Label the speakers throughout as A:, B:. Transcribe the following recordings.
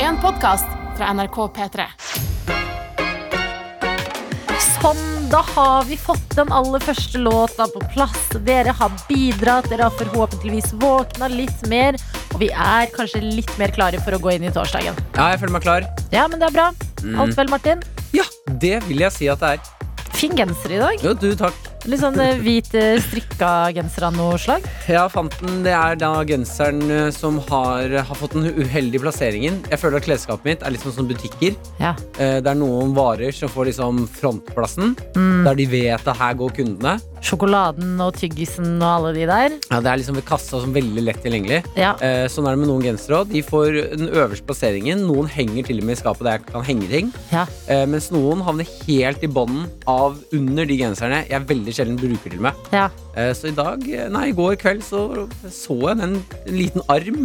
A: en podkast fra NRK P3.
B: Sånn, da har vi fått den aller første låta på plass. Dere har bidratt, dere har forhåpentligvis våkna litt mer. Og vi er kanskje litt mer klare for å gå inn i torsdagen.
C: Ja, jeg føler meg klar.
B: Ja, men det er bra.
C: Mm.
B: Alt vel, Martin?
C: Ja, det vil jeg si at det er.
B: Fin genser i dag.
C: Jo, du, takk.
B: Litt sånn eh, hvit eh, strikka genser av noe slag.
C: Ja, fant den. Det er da genseren eh, som har, har fått den uheldige plasseringen. Jeg føler at klesskapet mitt er litt sånn som butikker.
B: Ja.
C: Eh, Det er noen varer som får liksom frontplassen, der de vet at her går kundene.
B: Sjokoladen og tyggisen og alle de der.
C: Ja, det er liksom ved kassa som veldig lett tilgjengelig.
B: Ja.
C: Eh, Sånn er det med noen gensere òg. De får den øverste plasseringen. Noen henger til og med i skapet der jeg kan henge ting.
B: ja.
C: Eh, Mens noen havner helt i bånden av under de genserne jeg veldig sjelden bruker til meg.
B: ja.
C: Eh, Så i dag, nei, i går kveld så, så jeg den en liten arm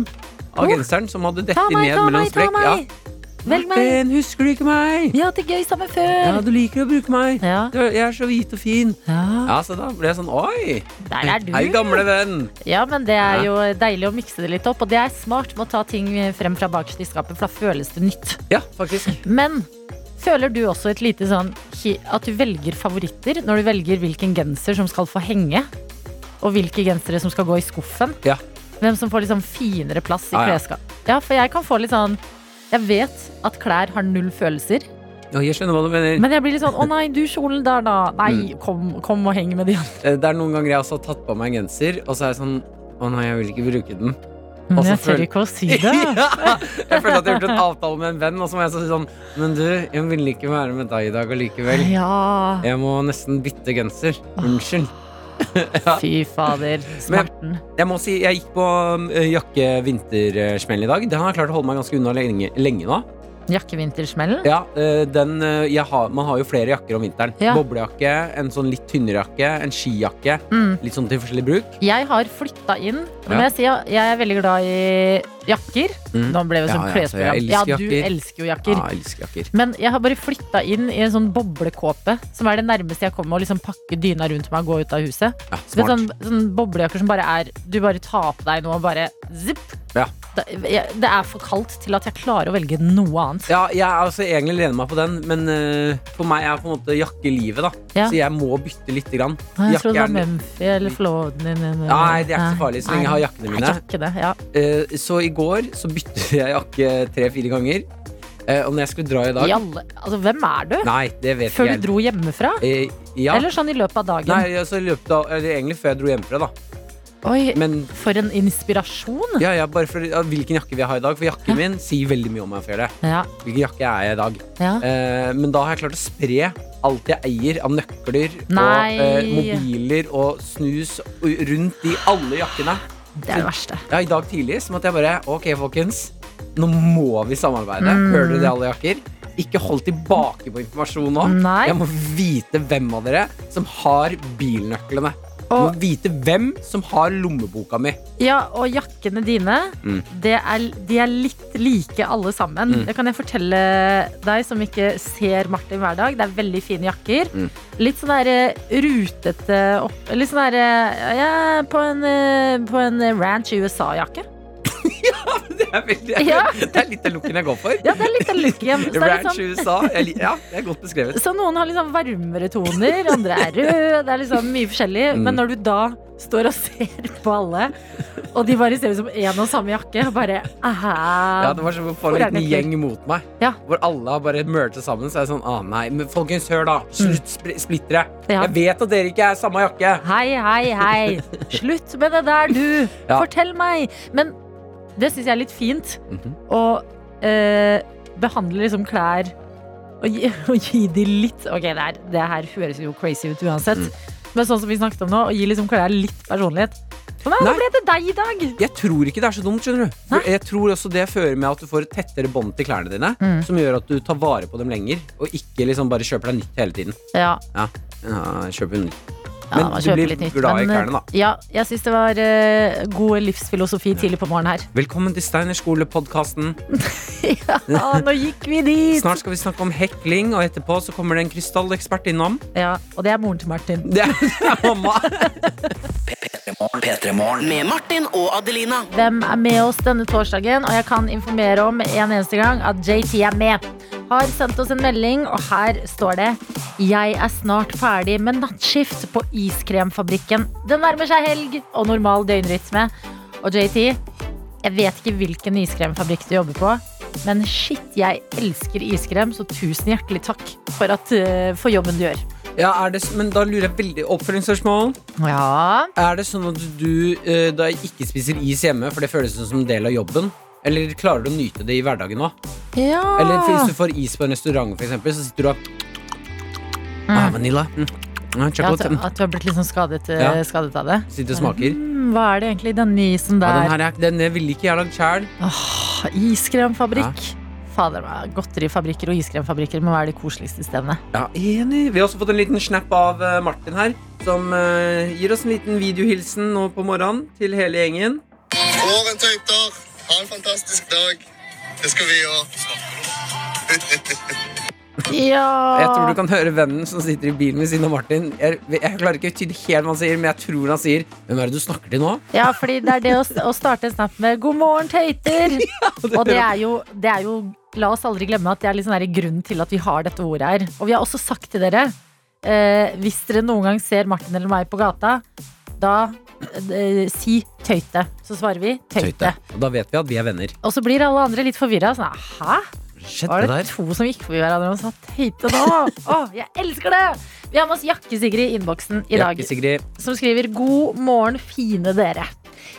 C: av
B: Åh.
C: genseren som hadde
B: Ta
C: dettet
B: meg,
C: ned
B: ta
C: mellom
B: meg, ta
C: sprekk. Ja.
B: meg! Velg meg!
C: Ben, husker du ikke meg?
B: Vi har hatt det gøy sammen
C: Ja,
B: før.
C: du liker å bruke meg.
B: Ja.
C: Du, jeg er så hvit og fin.
B: Ja,
C: Ja, så da ble jeg sånn, oi!
B: der er du.
C: Hei, gamle venn.
B: Ja, men det er
C: Ja.
B: jo deilig å mikse det litt opp, og det er smart med å ta ting frem fra bakerst i skapet, for da føles det nytt.
C: Ja, faktisk.
B: Men føler du også et lite sånn ki- at du velger favoritter når du velger hvilken genser som skal få henge, og hvilke gensere som skal gå i skuffen?
C: Ja.
B: Hvem som får litt sånn finere plass i
C: Ah, Ja, ja.
B: klesskap? Ja, for jeg kan få litt sånn Jeg vet at klær har null følelser,
C: Ja, jeg skjønner hva du mener.
B: men jeg blir litt sånn Å nei, du kjolen der, da.
C: Mm.
B: Nei, kom, kom og heng med de andre.
C: Eh, Det er noen ganger jeg også har tatt på meg en genser, og så er jeg sånn, å nei, jeg vil ikke bruke den. Og
B: Men
C: så
B: jeg tør
C: føl-
B: ikke å si
C: Ja.
B: det.
C: Jeg følte at jeg gjorde en avtale med en venn, og så må jeg si sånn, men du, jeg vil ikke være med deg i dag allikevel.
B: Ja.
C: Jeg må nesten bytte genser. Unnskyld.
B: Fy fader, smerten.
C: Jeg må si, jeg gikk på um, jakke-vintersmell i dag. Den har klart å holde meg ganske unna lenge, lenge nå.
B: Jakkevintersmellen.
C: Ja, eh, den, eh, jeg har, man har jo flere jakker om vinteren.
B: Ja.
C: Boblejakke, en sånn litt tynnere jakke, en skijakke.
B: Mm.
C: Litt sånn til forskjellig bruk.
B: Jeg har flytta inn. Nå
C: Ja.
B: må jeg si at jeg er veldig glad i jakker.
C: Mm.
B: Nå ble det jo
C: Ja,
B: sånn
C: ja, så jeg
B: klesprogram. Ja,
C: elsker
B: du
C: jakker.
B: elsker jo
C: Ja,
B: jakker.
C: jeg elsker jakker.
B: Men jeg har bare flytta inn i en sånn boblekåpe, som er det nærmeste jeg kommer å liksom pakke dyna rundt meg og gå ut av huset.
C: Ja,
B: Så det er
C: smart.
B: sånn, sånn boblejakker som bare er Du bare tar på deg noe og bare zipp.
C: Ja.
B: Det, jeg, det er for kaldt til at jeg klarer å velge noe annet.
C: Ja, jeg er altså egentlig lener meg på den, men eh, for meg er på en måte jakke livet, da.
B: Ja.
C: Så jeg må bytte lite grann.
B: Jeg trodde det var
C: er-
B: Mumphy eller Flåden
C: Nei, det er ikke så farlig, så lenge jeg har jakkene mine.
B: Jakkene, ja.
C: Eh, så i går så byttet jeg jakke tre-fire ganger. Eh, og når jeg skulle dra i dag
B: I alle, altså, hvem er du?
C: Nei, det vet
B: Før
C: jeg.
B: du dro hjemmefra?
C: Eh, ja.
B: Eller sånn i løpet av dagen?
C: Nei, altså, i løpet av, eller egentlig før jeg dro hjemmefra, da.
B: Oi,
C: Men
B: for en inspirasjon!
C: ja, ja, bare for, ja, hvilken jakke vi har i dag. For jakken min sier veldig mye om meg. Føler. jeg.
B: Ja,
C: Hvilken jakke er jeg i dag?
B: ja.
C: Eh, men da har jeg klart å spre alt jeg eier av nøkler
B: Nei.
C: og eh, mobiler og snus og- rundt i alle jakkene.
B: Det er det verste.
C: Ja, I dag tidlig så måtte jeg bare Ok, folkens. Nå må vi samarbeide. Hører dere det, alle jakker? Ikke hold tilbake på informasjon nå.
B: Nei.
C: Jeg må vite hvem av dere som har bilnøklene. Jeg må
B: Og-
C: vite hvem som har lommeboka mi.
B: Ja, og jakkene dine,
C: Mm.
B: det er, de er litt like alle sammen.
C: Mm.
B: Det kan jeg fortelle deg som ikke ser Martin hver dag. Det er veldig fine jakker.
C: Mm.
B: Litt sånn der eh, rutete opp Litt sånn der eh, Ja, på en, eh, på en ranch i USA-jakke.
C: Det er, veldig,
B: Ja.
C: det er litt av looken jeg går for.
B: Ja, det er litt av looken. Så det er litt
C: Ranch
B: sånn-
C: USA. Jeg, li- ja, det er godt beskrevet.
B: Så noen har liksom varmere toner, andre er røde. Det er liksom mye forskjellig.
C: Mm.
B: Men når du da står og ser på alle, og de bare ser ut som én og samme jakke, og bare aha.
C: Ja, det var som å få
B: Hvor
C: en
B: er
C: liten
B: nøkler?
C: gjeng mot meg.
B: Ja.
C: Hvor alle har bare merget sammen. Så er jeg sånn, ah nei, men folkens, hør da. Slutt sp splittere.
B: Mm. Ja.
C: Jeg vet at dere ikke er samme jakke.
B: Hei, hei, hei. Slutt med det der, du.
C: Ja.
B: Fortell meg. Men det syns jeg er litt fint.
C: Mhm.
B: Å eh, behandle liksom klær og gi, og gi de litt Ok, det her, det her høres jo crazy ut uansett.
C: Mm.
B: Men sånn som vi snakket om nå, å gi liksom klær litt personlighet. Nei,
C: Nei.
B: Nå ble det deg i dag.
C: Jeg tror ikke det er så dumt, skjønner du. For
B: Nei.
C: jeg tror også det fører med at du får et tettere bånd til klærne dine,
B: Mm.
C: som gjør at du tar vare på dem lenger, og ikke liksom bare kjøper deg nytt hele tiden.
B: Ja,
C: Ja, ja kjøper nytt.
B: ja
C: Men
B: man
C: du
B: kjøper
C: blir
B: litt nytt,
C: glad i
B: men, eh,
C: klærne, da.
B: Ja, jeg syns det var eh, god livsfilosofi tidlig på morgenen her.
C: Velkommen til Steinerskolepodkasten.
B: ja, nå gikk vi dit!
C: Snart skal vi snakke om hekling, og etterpå så kommer det en krystallekspert innom.
B: Ja, og det er moren til Martin.
C: Det er, det er mamma.
D: P3 Morgen. Med Martin og Adelina.
B: Hvem er med oss denne torsdagen? Og jeg kan informere om en eneste gang at JT er med. Har sendt oss en melding, og her står det Jeg er snart ferdig med nattskift på iskremfabrikken. Det nærmer seg helg og normal døgnrytme. Og JT, jeg vet ikke hvilken iskremfabrikk du jobber på, men shit, jeg elsker iskrem, så tusen hjertelig takk for, at, eh, for jobben du gjør.
C: Ja, er det, s- men da lurer jeg veldig Oppfølgingsspørsmål.
B: Ja,
C: Er det sånn at du eh, da ikke spiser is hjemme, for det føles som en del av jobben? Eller klarer du å nyte det i hverdagen òg?
B: ja.
C: Eller hvis du får is på en restaurant, for eksempel, så sitter du og ah, Vanilla. Mm. Ja,
B: Ja, at,
C: chocolate. Mm.
B: at du har blitt litt sånn skadet, eh,
C: Ja.
B: skadet av det.
C: Sitter og smaker.
B: Mm, Hva er det egentlig i denne isen
C: Ja, den
B: der?
C: her er, den ville ikke jeg lagd sjæl.
B: Åh, iskremfabrikk. Fader, meg, Godterifabrikker og iskremfabrikker må være de koseligste stedene.
C: Ja, enig. Vi har også fått en liten snap av eh, Martin her, som eh, gir oss en liten videohilsen nå på morgenen til hele gjengen.
E: Åren tøyter. Ha en fantastisk dag. Det skal vi òg.
C: Jeg tror
B: Ja!
C: du kan høre vennen som sitter i bilen ved siden av Martin. Jeg, jeg klarer ikke å tyde helt hva han sier, men jeg tror han sier Hvem er det du snakker til nå?
B: ja, fordi det er det å, å starte en snap med 'God morgen, tøyter'. Og det er jo, det er jo La oss aldri glemme at det er litt sånn her grunnen til at vi har dette ordet her. Og vi har også sagt til dere, eh, hvis dere noen gang ser Martin eller meg på gata, da eh, si 'tøyte'. Så svarer vi 'tøyte'.
C: Og da vet vi at vi er venner.
B: Og så blir alle andre litt forvirra. Sånn, Hæ?
C: Skjedde
B: Var
C: det
B: det
C: der?
B: to som gikk forbi hverandre og sa teite nå? Åh, jeg elsker det! Vi har med oss Jakke-Sigrid i innboksen i dag,
C: Jakke, Sigrid.
B: som skriver God morgen, fine dere.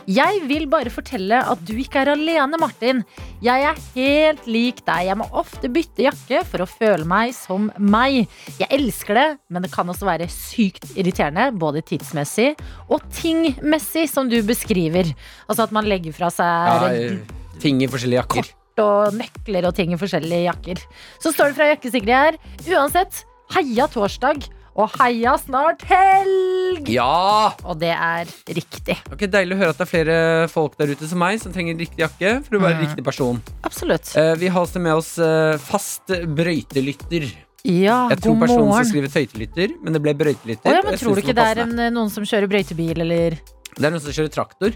B: Jeg vil bare fortelle at du ikke er alene, Martin. Jeg er helt lik deg. Jeg må ofte bytte jakke for å føle meg som meg. Jeg elsker det, men det kan også være sykt irriterende, både tidsmessig og tingmessig, som du beskriver. Altså at man legger fra seg
C: Ja, ting i forskjellige jakker.
B: kort og nøkler og ting i forskjellige jakker. Så står det fra Jakke-Sigrid her. Uansett, heia torsdag, og heia snart helg!
C: Ja!
B: Og det er riktig.
C: Ok, Deilig å høre at det er flere folk der ute som meg som trenger riktig jakke for å være
B: Mm.
C: riktig person.
B: Absolutt.
C: Eh, vi har også med oss eh, fast brøytelytter.
B: Ja,
C: Jeg
B: Ah,
C: tror
B: god
C: personen som
B: morgen.
C: skriver tøytelytter, men det ble brøytelytter.
B: Å ja,
C: og
B: men
C: jeg
B: tror du
C: synes
B: ikke det
C: var
B: er en, eh, noen som kjører brøytebil, eller
C: passende. Det er noen som kjører traktor.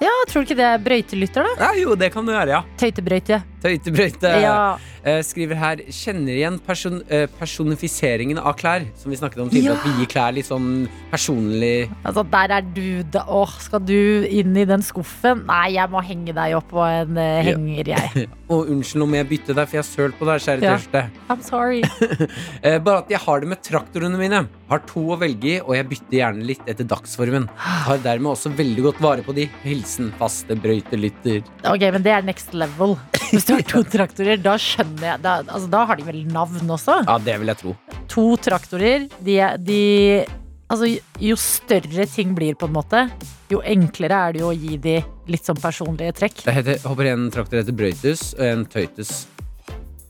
B: Ja, tror du ikke det er brøytelytter, da?
C: Ja, jo, det kan det være, ja.
B: Tøytebrøyte.
C: Tøytebrøyte.
B: Ja.
C: Eh, skriver her Kjenner igjen person, eh, personifiseringen av klær. Som vi snakket om
B: Ja.
C: tidligere, at vi gir klær litt sånn personlig.
B: Altså, der er du, da. Åh, skal du inn i den skuffen? Nei, jeg må henge deg opp på en eh,
C: Ja.
B: henger, jeg.
C: Og unnskyld om jeg bytter deg, for jeg har sølt på deg, kjære
B: Ja.
C: tørste.
B: I'm sorry.
C: Eh, bare at jeg har det med traktorene mine. Har to å velge i, og jeg bytter gjerne litt etter dagsformen. Har dermed også veldig godt vare på de. Hilsen faste brøytelytter.
B: Ok, men det er next level. Hvis du har to traktorer, da skjønner jeg Da, altså, da har de vel navn også?
C: Ja, det vil jeg tro.
B: To traktorer, de, de Altså, jo større ting blir, på en måte, jo enklere er det jo å gi de litt sånn personlige trekk.
C: Det heter, håper en traktor heter Brøytus, og en Tøytus.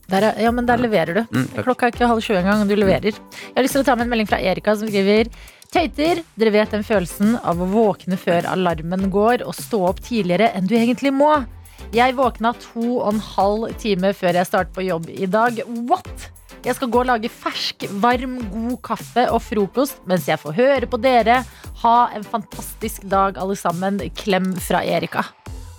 B: Der, er- ja, men der leverer du.
C: Mm, takk.
B: Klokka er ikke halv sju engang, og du leverer. Jeg har lyst til å ta med en melding fra Erika som skriver Tøyter, dere vet den følelsen av å våkne før alarmen går og stå opp tidligere enn du egentlig må. Jeg våkna to og en halv time før jeg starter på jobb i dag. What? Jeg skal gå og lage fersk, varm, god kaffe og frokost mens jeg får høre på dere. Ha en fantastisk dag, alle sammen. Klem fra Erika.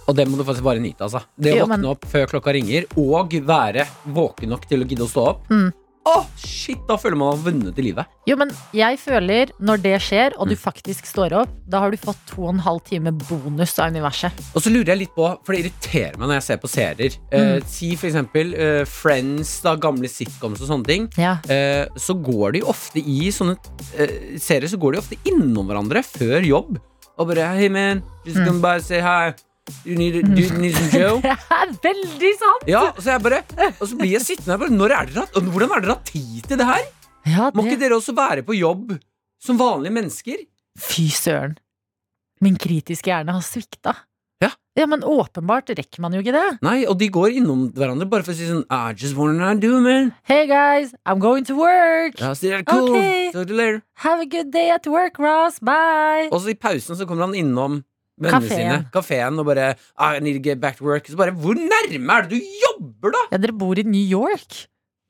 C: Og det må du faktisk bare nyte, altså. Det å
B: Jo, men-
C: våkne opp før klokka ringer, og være våken nok til å gidde å stå opp.
B: Mm.
C: Åh, shit, da føler man man har vunnet i livet.
B: Jo, men jeg føler når det skjer, og du faktisk står opp, da har du fått to og en halv time bonus av universet.
C: Og så lurer jeg litt på, for det irriterer meg når jeg ser på serier.
B: Mm.
C: Eh, si for eksempel eh, Friends, da, gamle sitcoms og sånne ting.
B: Ja.
C: eh, så går de ofte i sånne eh, serier så går de ofte innom hverandre før jobb. Og bare Hey, man, just come by and say hi. You need, do you need some Joe?
B: Det er veldig sant!
C: Ja, og så, jeg bare, og så blir jeg sittende her bare Når er dere hatt- og Hvordan er dere hatt tid til det her?
B: Ja,
C: Må ikke
B: det,
C: dere også være på jobb som vanlige mennesker?
B: fy søren. Min kritiske hjerne har svikta.
C: Ja.
B: men åpenbart rekker man jo ikke det.
C: Nei, og de går innom hverandre bare for å si sånn I just wanna do, man.
B: Hey guys, I'm going to work!
C: Ja, så det er cool.
B: Ok.
C: Talk to you later.
B: Have a good day at work, Ross! Bye!
C: Og så i pausen så kommer han innom vennene
B: Kaféen.
C: sine, kafeen, og bare I need to get back to work. Så bare Hvor nærme er det du jobber, da?
B: Ja, dere bor i New York.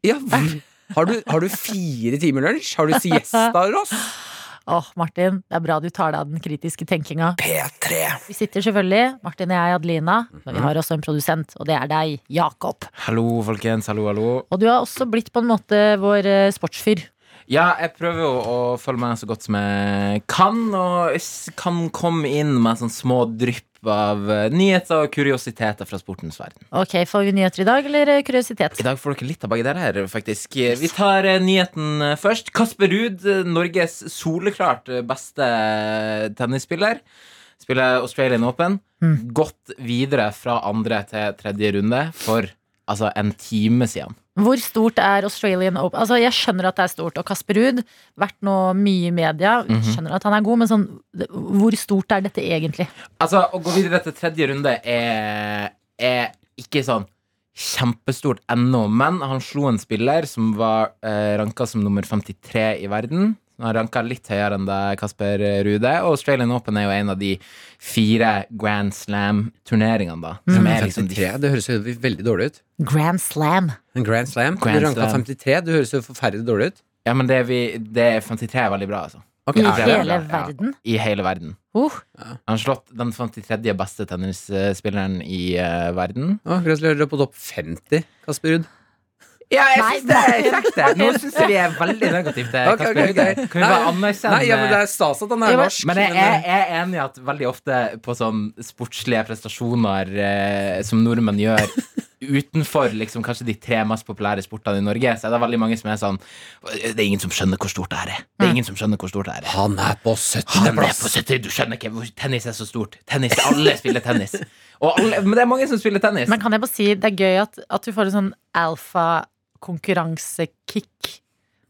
C: Ja, hvor? Har du, har du fire timer lunsj? Har du siesta, Ross?
B: Åh, Martin, det er bra du tar deg av den kritiske tenkinga.
C: P3.
B: Vi sitter selvfølgelig, Martin og jeg, Adelina, men
C: Mhm.
B: vi har også en produsent, og det er deg, Jakob.
F: Hallo, folkens. Hallo, hallo.
B: Og du har også blitt på en måte vår eh, sportsfyr.
F: Ja, jeg prøver jo å følge med så godt som jeg kan, og s- kan komme inn med sånn små drypp av eh, nyheter og kuriositeter fra sportens verden.
B: Ok, får vi nyheter i dag, eller eh, kuriositet?
F: I dag får dere litt av begge der her, faktisk. Vi tar eh, nyheten eh, først. Kasper Ruud, eh, Norges soleklart eh, beste eh, tennisspiller. Spiller Australian Open. Gått videre fra andre til tredje runde for altså en time siden.
B: Hvor stort er Australian Open? Altså, jeg skjønner at det er stort, og Kasper Ruud, vært nå mye i media, skjønner at han er god, men sånn, det- hvor stort er dette egentlig?
F: Altså, å gå videre til tredje runde er, er ikke sånn kjempestort ennå, men han slo en spiller som var eh, ranka som nummer 53 i verden. Han har ranka litt høyere enn deg, Kasper Rude. Og Australian Open er jo en av de fire Grand Slam-turneringene, da. Som er liksom de
C: 53, det høres jo veldig dårlig ut.
B: Grand Slam.
C: En Grand Slam.
F: Grand
C: du ranka
F: Slam.
C: 53, det høres jo forferdelig dårlig ut.
F: Ja, men det, er vi, det er 53 er veldig bra, altså.
C: Ok,
B: I
C: er det?
B: hele
F: Ja, ja.
B: verden?
F: I hele verden.
B: Uh,
F: Han har slått den 53. beste tennisspilleren i eh, verden.
C: Å, Gratulerer, du er på topp 50, Kasper Ruud.
F: Ja, jeg
B: Nei,
F: syns det er kjekt. det. Nå syns jeg vi er veldig negative til
C: Ok, ok,
F: Kasper Ruud.
C: ok.
F: Kan vi bare anerkjenne
C: Nei, ja, men Det er stas at han
B: Jo,
C: er
B: men-
C: norsk.
F: men jeg er,
C: men, eh,
F: jeg er enig i at veldig ofte på sånn sportslige prestasjoner eh, som nordmenn gjør utenfor liksom, kanskje de tre mest populære sportene i Norge, så er det veldig mange som er sånn Det er ingen som skjønner hvor stort det her er. Det
C: Mm.
F: er ingen som skjønner hvor stort det her
C: eh,
F: er.
C: Han er på
F: Han
C: 70.
F: er på
C: plass.
F: 70, du skjønner ikke hvor tennis er så stort. Tennis, Alle spiller tennis. Og alle, men det er mange som spiller tennis.
B: Men kan jeg bare si, det er gøy at, at du får en sånn alfa-konkurransekick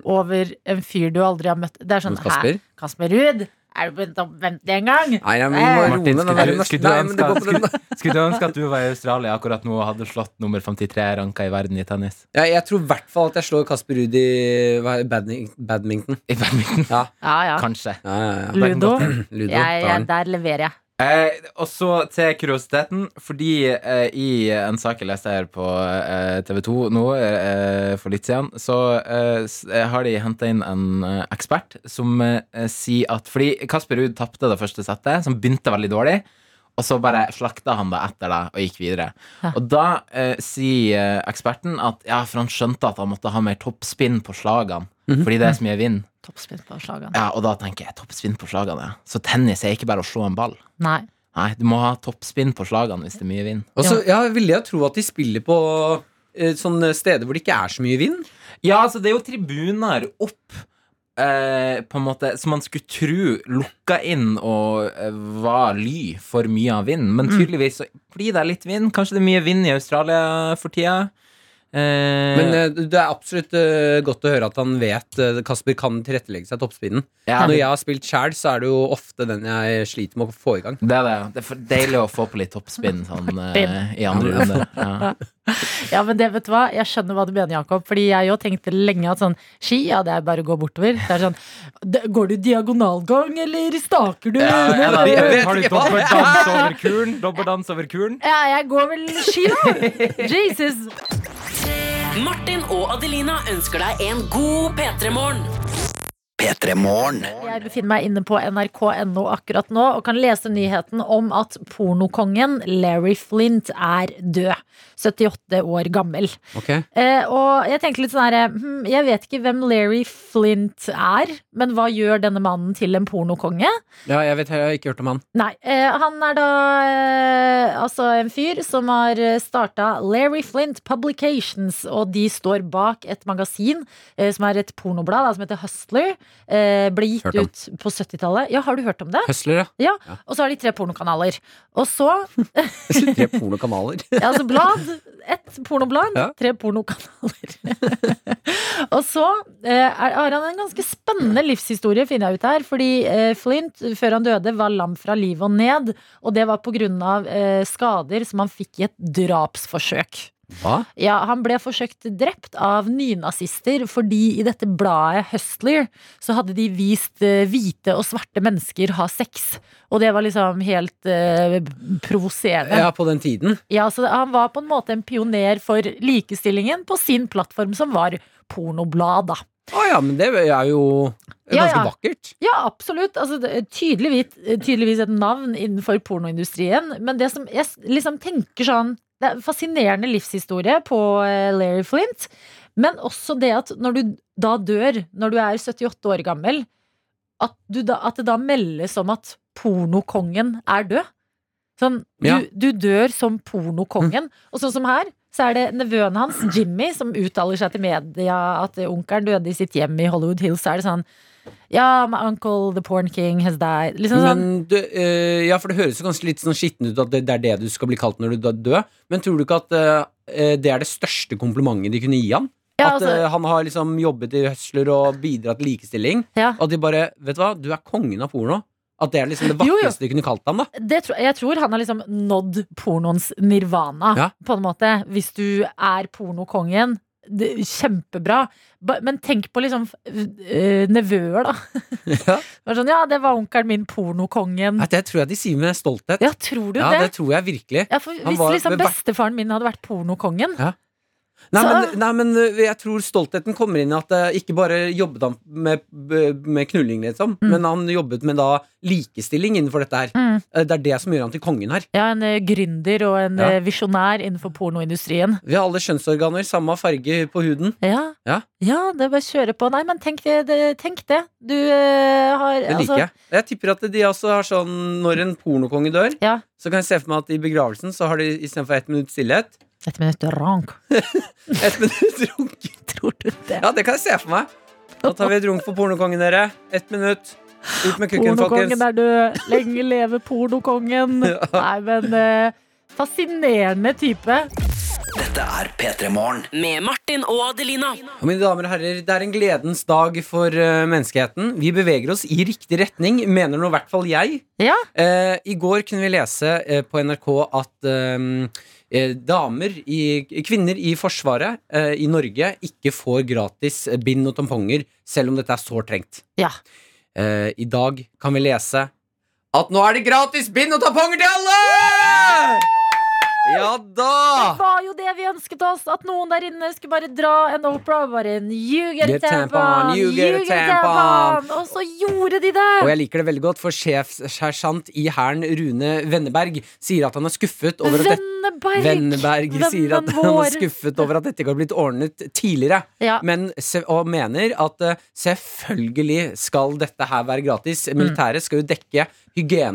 B: over en fyr du aldri har møtt. Det er sånn,
C: Mot Kasper?
B: hæ, Kasper Ruud, er du på topp 50 en gang?
C: Nei, jeg må roe ned
F: Martin,
C: den
F: skulle
C: der
F: du,
C: norske
F: skulle, du
C: Nei, men det
F: ønske,
C: går på den.
F: skulle, skulle du ønske at du var i Australia akkurat nå og hadde slått nummer 53 ranka i verden i tennis?
C: Ja, jeg tror i hvert fall at jeg slår Kasper Ruud i hva er det, badmin- badminton.
F: I badminton?
C: Ja,
B: Ja, ja.
F: Kanskje.
C: ja, ja, ja.
B: Ludo.
F: Mm.
C: Ludo.
B: Jeg, jeg,
C: barn.
B: der leverer jeg.
F: Eh, og så til kuriositeten, fordi eh, i en sak jeg leste her på eh, TV 2 nå eh, for litt siden, så eh, s- eh, har de henta inn en eh, ekspert som eh, sier at Fordi Kasper Ruud tapte det første settet, som begynte veldig dårlig, og så bare slakta han det etter det og gikk videre. Og da eh, sier eh, eksperten at ja, for han skjønte at han måtte ha mer toppspinn på slagene, fordi det er så mye vind.
B: Toppspinn på slagene.
F: Ja, og da tenker jeg toppspinn på slagene, ja. Så tennis er ikke bare å slå en ball.
B: Nei.
F: Nei, du må ha toppspinn på slagene hvis det er mye vind.
C: Og så ja, ville jeg tro at de spiller på eh, sånne steder hvor det ikke er så mye vind.
F: Ja, altså det er jo tribuner opp eh, På en måte Som man skulle tro lukka inn Og eh, var ly for mye av vind Men tydeligvis så blir det litt vind Kanskje det er mye vind i Australia for tida eh,
C: Men eh, det er absolutt eh, godt å høre at han vet eh, Kasper kan tilrettelegge seg toppspinnen.
F: ja,
C: Når
F: det,
C: jeg har spilt sjæl, så er det jo ofte den jeg sliter med å få i gang.
F: det er det Det er for deilig å få på litt toppspinn sånn, eh, I andre runde ja.
B: Ja, men det, vet du hva? Jeg skjønner hva du mener, Jakob. Fordi jeg jo tenkte lenge at sånn ski, ja, det er bare å gå bortover. Det er sånn, d- Går du diagonalgang, eller staker du?
F: Ja, da,
C: vet
F: Har du
C: ikke hva det
F: dobbeltdans over kuren? Dobbeltdans over kuren?
B: Ja, jeg går vel ski, da. Jesus.
D: Martin og Adelina ønsker deg en god P3-morgen.
B: Jeg befinner meg inne på nrk.no akkurat nå og kan lese nyheten om at pornokongen Larry Flint er død. 78 år gammel. Eh, og jeg tenkte litt sånn her eh, hmm, Jeg vet ikke hvem Larry Flint er, men hva gjør denne mannen til en pornokonge?
C: Ja, jeg vet, jeg har ikke hørt om han.
B: Nei, eh, han er da eh, altså en fyr som har starta Larry Flint Publications, og de står bak et magasin eh, som er et pornoblad da, som heter Hustler. Eh, ble gitt
C: Hørt om.
B: ut på 70-tallet. Ja, har du hørt om det?
C: Hustler, ja.
B: Ja.
C: Ja.
B: Og så har de tre pornokanaler. Og så
C: Tre pornokanaler.
B: ja, altså blad. Ett pornoblad,
C: Ja.
B: tre pornokanaler. og så eh, er, har han en ganske spennende livshistorie, finner jeg ut her. Fordi eh, Flint, før han døde, var lam fra livet og ned. Og det var pga. Eh, skader som han fikk i et drapsforsøk.
C: Hva?
B: Ja, Han ble forsøkt drept av nynazister fordi i dette bladet Hustler så hadde de vist eh, hvite og svarte mennesker ha sex. Og det var liksom helt eh, provoserende.
C: Ja, på den tiden.
B: Ja, så Han var på en måte en pioner for likestillingen på sin plattform, som var pornoblad. da.
C: Å ja, men det er jo
B: Ja,
C: ganske
B: ja.
C: vakkert.
B: Ja, absolutt. Altså, det er tydeligvis, tydeligvis et navn innenfor pornoindustrien. Men det som jeg s- liksom tenker sånn Det er en fascinerende livshistorie på eh, Larry Flint. Men også det at når du da dør, når du er 78 år gammel, at, du da, at det da meldes om at pornokongen er død. Sånn, du,
C: Ja.
B: du dør som pornokongen. Og sånn som her, så er det nevøen hans, Jimmy, som uttaler seg til media at onkelen døde i sitt hjem i Hollywood Hills. Så er det sånn Ja, my uncle, the porn king, has died. Liksom sånn.
C: Men du, eh, ja, for det høres jo ganske litt sånn skittent ut at det, det er det du skal bli kalt når du da dør. Men tror du ikke at eh, eh, det er det største komplimentet de kunne gi han?
B: Ja,
C: at
B: altså-
C: eh, han har liksom jobbet i Hustler og bidratt til likestilling?
B: Ja.
C: At de bare Vet du hva, du er kongen av porno. At det er liksom det
B: Jo, jo.
C: vakreste de kunne kalt ham, da.
B: det tro, jeg tror han har liksom nådd pornoens nirvana,
C: Ja.
B: på en måte. Hvis du er pornokongen. Det, kjempebra. Ba, men tenk på liksom øh, nevøer, da.
C: Ja.
B: Det var sånn, ja, det var onkelen min, pornokongen.
C: Nei, Det tror jeg de sier med stolthet.
B: Ja, tror du
C: Ja,
B: det?
C: det tror jeg virkelig.
B: Ja, for
C: Han
B: Hvis
C: var-
B: liksom
C: men hvert-
B: bestefaren min hadde vært pornokongen
C: Nei,
B: Så-
C: men, nei, men øh, jeg tror stoltheten kommer inn i at eh, ikke bare jobbet han med, med knulling, liksom,
B: Mm.
C: men han jobbet med da likestilling innenfor dette her.
B: Mm.
C: Eh, Det er det som gjør han til kongen her.
B: Ja, en eh, gründer og en
C: Ja.
B: eh, visjonær innenfor pornoindustrien.
C: Vi har alle kjønnsorganer, samme farge på huden.
B: Ja.
C: Ja.
B: det er bare å kjøre på. Nei, men tenk det. det- Tenk det. Du eh, har
C: Det liker jeg. Jeg tipper at de også har sånn Når en pornokonge dør,
B: Ja.
C: så kan jeg se for meg at i begravelsen så har de istedenfor ett minutt stillhet,
B: Et minutt rank.
C: ett minutt runk.
B: Tror du det?
C: Ja, det kan jeg se for meg. Da tar vi et runk for pornokongen, dere. Ett minutt. Ut med kukken,
B: Pornokongen
C: folkens.
B: er død. Lenge leve pornokongen.
C: Ja.
B: Nei, men eh, fascinerende type.
D: Med Martin og Adelina.
C: Og Mine damer og herrer, det er en gledens dag for eh, menneskeheten. Vi beveger oss i riktig retning, mener nå i hvert fall jeg.
B: Ja.
C: Eh, I går kunne vi lese eh, på NRK at ehm, eh, damer, i, kvinner i Forsvaret eh, i Norge ikke får gratis eh, bind og tamponger, selv om dette er sårt trengt.
B: Ja.
C: Eh, I dag kan vi lese at nå er det gratis bind og tamponger til alle! Ja da!
B: Det var jo det vi ønsket oss, at noen der inne skulle bare dra en Oprah og bare en You get a
C: Get tampon,
B: tampon,
C: you get a
B: tampon. Og så gjorde de det!
C: Og jeg liker det veldig godt, for sjefssersjant i Hæren, Rune Venneberg, sier at han er skuffet over at dette
B: Venneberg.
C: Venneberg sier at
B: vennen
C: han
B: vår.
C: er skuffet over at dette ikke har blitt ordnet tidligere,
B: Ja.
C: men, se- og mener at eh, selvfølgelig skal dette her være gratis.
B: Mm.
C: Militæret skal jo dekke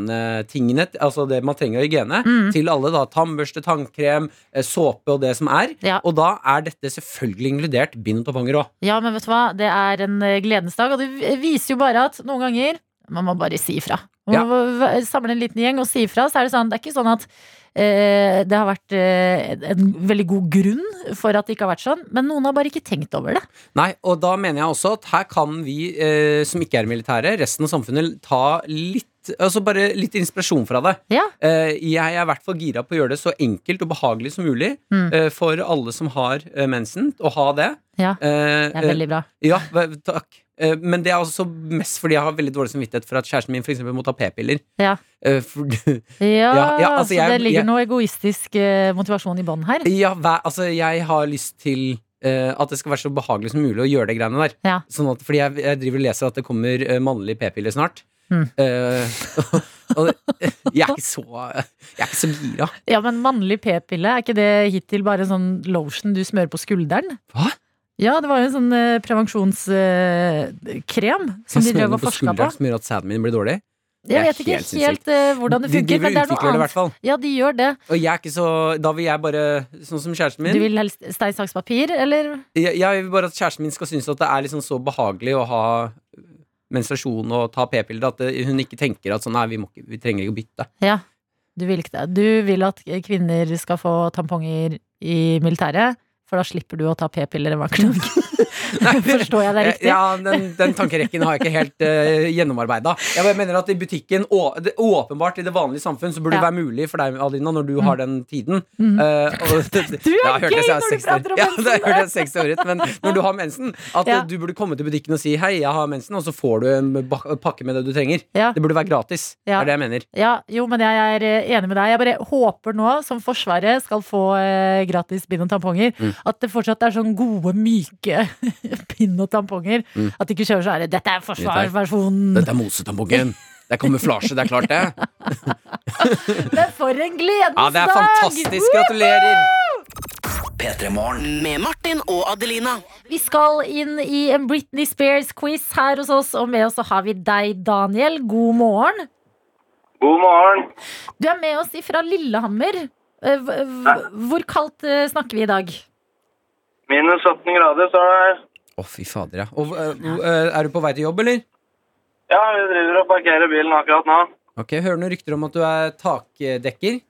C: hygienetingene, altså det man trenger av hygiene,
B: Mm.
C: til alle. da Tannbørste, tannkrem, eh, såpe og det som er.
B: Ja.
C: Og da er dette selvfølgelig inkludert bind og tamponger òg.
B: ja, men vet du hva? Det er en eh, gledens dag, og det v- viser jo bare at noen ganger man må bare si ifra. Man
C: Ja.
B: må v- samle en liten gjeng og si ifra. Så er det sånn, det er ikke sånn at eh, det har vært eh, en veldig god grunn for at det ikke har vært sånn, men noen har bare ikke tenkt over det.
C: Nei, og da mener jeg også at her kan vi eh, som ikke er militære, resten av samfunnet, ta litt Altså bare litt inspirasjon fra det.
B: Ja.
C: Eh, jeg er i hvert fall gira på å gjøre det så enkelt og behagelig som mulig
B: Mm.
C: eh, for alle som har eh, mensen, å ha det.
B: Ja,
C: Eh,
B: det er veldig bra.
C: eh, ja, ve- takk. Eh, men det er også mest fordi jeg har veldig dårlig samvittighet for at kjæresten min for eksempel må ta p-piller.
B: Ja.
C: Eh, for,
B: Ja,
C: ja, ja, altså
B: så
C: jeg-
B: det ligger
C: jeg-
B: noe egoistisk eh, motivasjon i bånn her.
C: ja, hva- altså, jeg har lyst til eh, at det skal være så behagelig som mulig å gjøre det greiene der.
B: Ja.
C: Sånn at, fordi jeg, jeg driver og leser at det kommer eh, mannlige p-piller snart.
B: Mm.
C: Eh, og jeg er ikke så Jeg er ikke så gira.
B: Ja, men mannlig p-pille, er ikke det hittil bare en sånn lotion du smører på skulderen?
C: Hva?
B: Ja, det var jo en sånn eh, prevensjonskrem eh, som de
C: Jeg smører
B: drev
C: noe
B: og
C: på
B: forska på.
C: skulderen som gjør at sæden min blir dårlig. Det er
B: Jeg vet ikke
C: helt
B: helt
C: sinnssykt.
B: eh, hvordan det
C: De
B: funker,
C: driver
B: men
C: og
B: det er noe
C: utvikler det i
B: annet.
C: hvert fall.
B: Ja, de gjør det.
C: Og jeg er ikke så Da vil jeg bare, sånn som kjæresten min
B: Du vil helst stein, saks, papir, eller?
C: jeg, jeg vil bare at kjæresten min skal synes at det er liksom så behagelig å ha eh, menstruasjon og ta p-piller at det- hun ikke tenker at sånn Nei, vi, må ikke, vi trenger ikke å bytte.
B: Ja. Du vil ikke det. Du vil at kvinner skal få tamponger i militæret, for da slipper du å ta p-piller hver dag. Forstår jeg det riktig?
C: Eh, Ja, den, den tankerekken har jeg ikke helt uh, gjennomarbeida. Jeg bare mener at i butikken, å, det, åpenbart i det vanlige samfunn, så burde det
B: Ja.
C: være mulig for deg, Adelina, når du har den tiden.
B: Mhm.
C: eh, og,
B: Du er
C: Ja, jeg hørte
B: gay
C: jeg sa
B: når du
C: 60
B: prater om
C: ja,
B: mensen.
C: det hørte jeg 60 år ut, men når du har mensen, at
B: Ja.
C: eh, du burde komme til butikken og si 'hei, jeg har mensen', og så får du en bak- pakke med det du trenger.
B: Ja.
C: Det burde være gratis.
B: Ja.
C: er det jeg mener.
B: Ja, jo, men jeg er eh, enig med deg. Jeg bare håper nå, som Forsvaret skal få eh, gratis bind og tamponger,
C: Mm.
B: At det fortsatt er sånn gode, myke pinn og tamponger.
C: Mm.
B: At de ikke kjører sånn her Dette er forsvarsversjonen!
C: Dette er mosetampongen. Det er kamuflasje, det er klart det.
B: Men for en gledens
C: Ja, det er fantastisk. Gratulerer.
D: Med Martin og Adelina.
B: Vi skal inn i en Britney Spears-quiz her hos oss, og med oss så har vi deg, Daniel. God morgen.
G: God morgen.
B: Du er med oss fra Lillehammer. Eh, hv- hv- Hvor kaldt eh, snakker vi i dag?
G: Minus 18 grader, så er det
C: Å, fy fader, ja. Og, øh, øh, er du på vei til jobb, eller?
G: Ja, vi driver og parkerer bilen akkurat nå.
C: Ok, Hører noen rykter om at du er takdekker?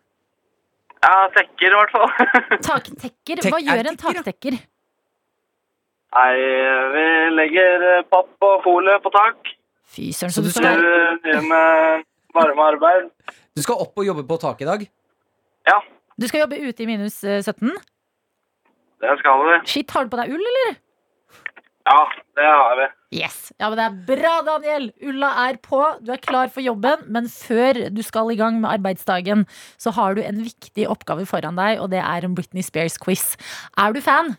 G: Ja, tekker i hvert fall.
B: Taktekker?
C: Tek-
B: Hva
C: er
B: gjør
C: det
B: en
C: tekker, da?
B: taktekker?
G: Nei, vi legger eh, papp og folie på tak.
B: Fy søren,
C: Så
B: så du
C: du
G: Vi
B: skal
C: skal-
G: eh, driver med varmearbeid.
C: Du skal opp og jobbe på taket i dag.
G: Ja,
B: Du skal jobbe ute i minus eh, 17?
G: det skal vi.
B: Shit, har du på deg ull, eller?
G: Ja, det har vi.
B: Yes. Ja, men det er bra, Daniel! Ulla er på, du er klar for jobben. Men før du skal i gang med arbeidsdagen, så har du en viktig oppgave foran deg, og det er en Britney Spears-quiz. Er du fan?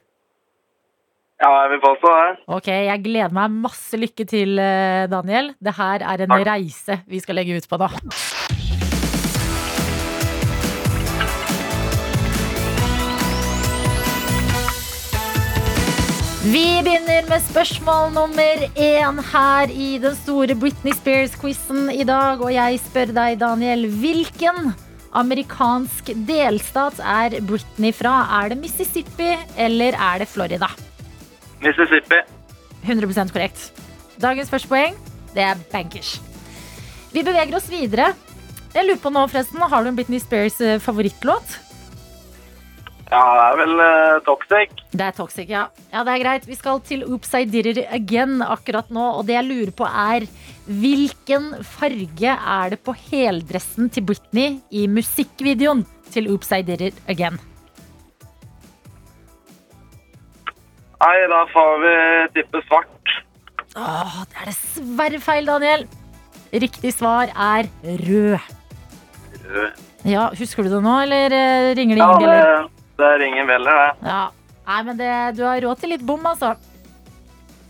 G: Ja, jeg vil påstå det.
B: Ok, jeg gleder meg. Masse lykke til, eh, Daniel. Det her er en reise vi skal legge ut på nå. Vi begynner med spørsmål nummer én her i den store Britney Spears-quizen i dag. Og jeg spør deg, Daniel, hvilken amerikansk delstat er Britney fra? Er det Mississippi, eller er det Florida?
G: Mississippi.
B: 100 korrekt. Dagens første poeng, det er bankers. Vi beveger oss videre. Jeg lurer på nå, forresten, Har du en Britney Spears eh, favorittlåt?
G: Ja, det er vel eh, toxic.
B: Det er Toxic, ja. Ja, det er greit. Vi skal til Oops, I did it again akkurat nå. Og det jeg lurer på, er hvilken farge er det på heldressen til Britney i musikkvideoen til Oops, I did it again?
G: Nei, da får vi tippe svart.
B: Åh, det er dessverre feil, Daniel. Riktig svar er rød.
G: Rød.
B: Ja, Husker du det nå, eller eh, ringer det
G: Ja,
B: ingen
G: det,
B: bjeller?
G: det ringer veller, det.
B: Ja. Nei, men det, du har råd til litt bom, altså.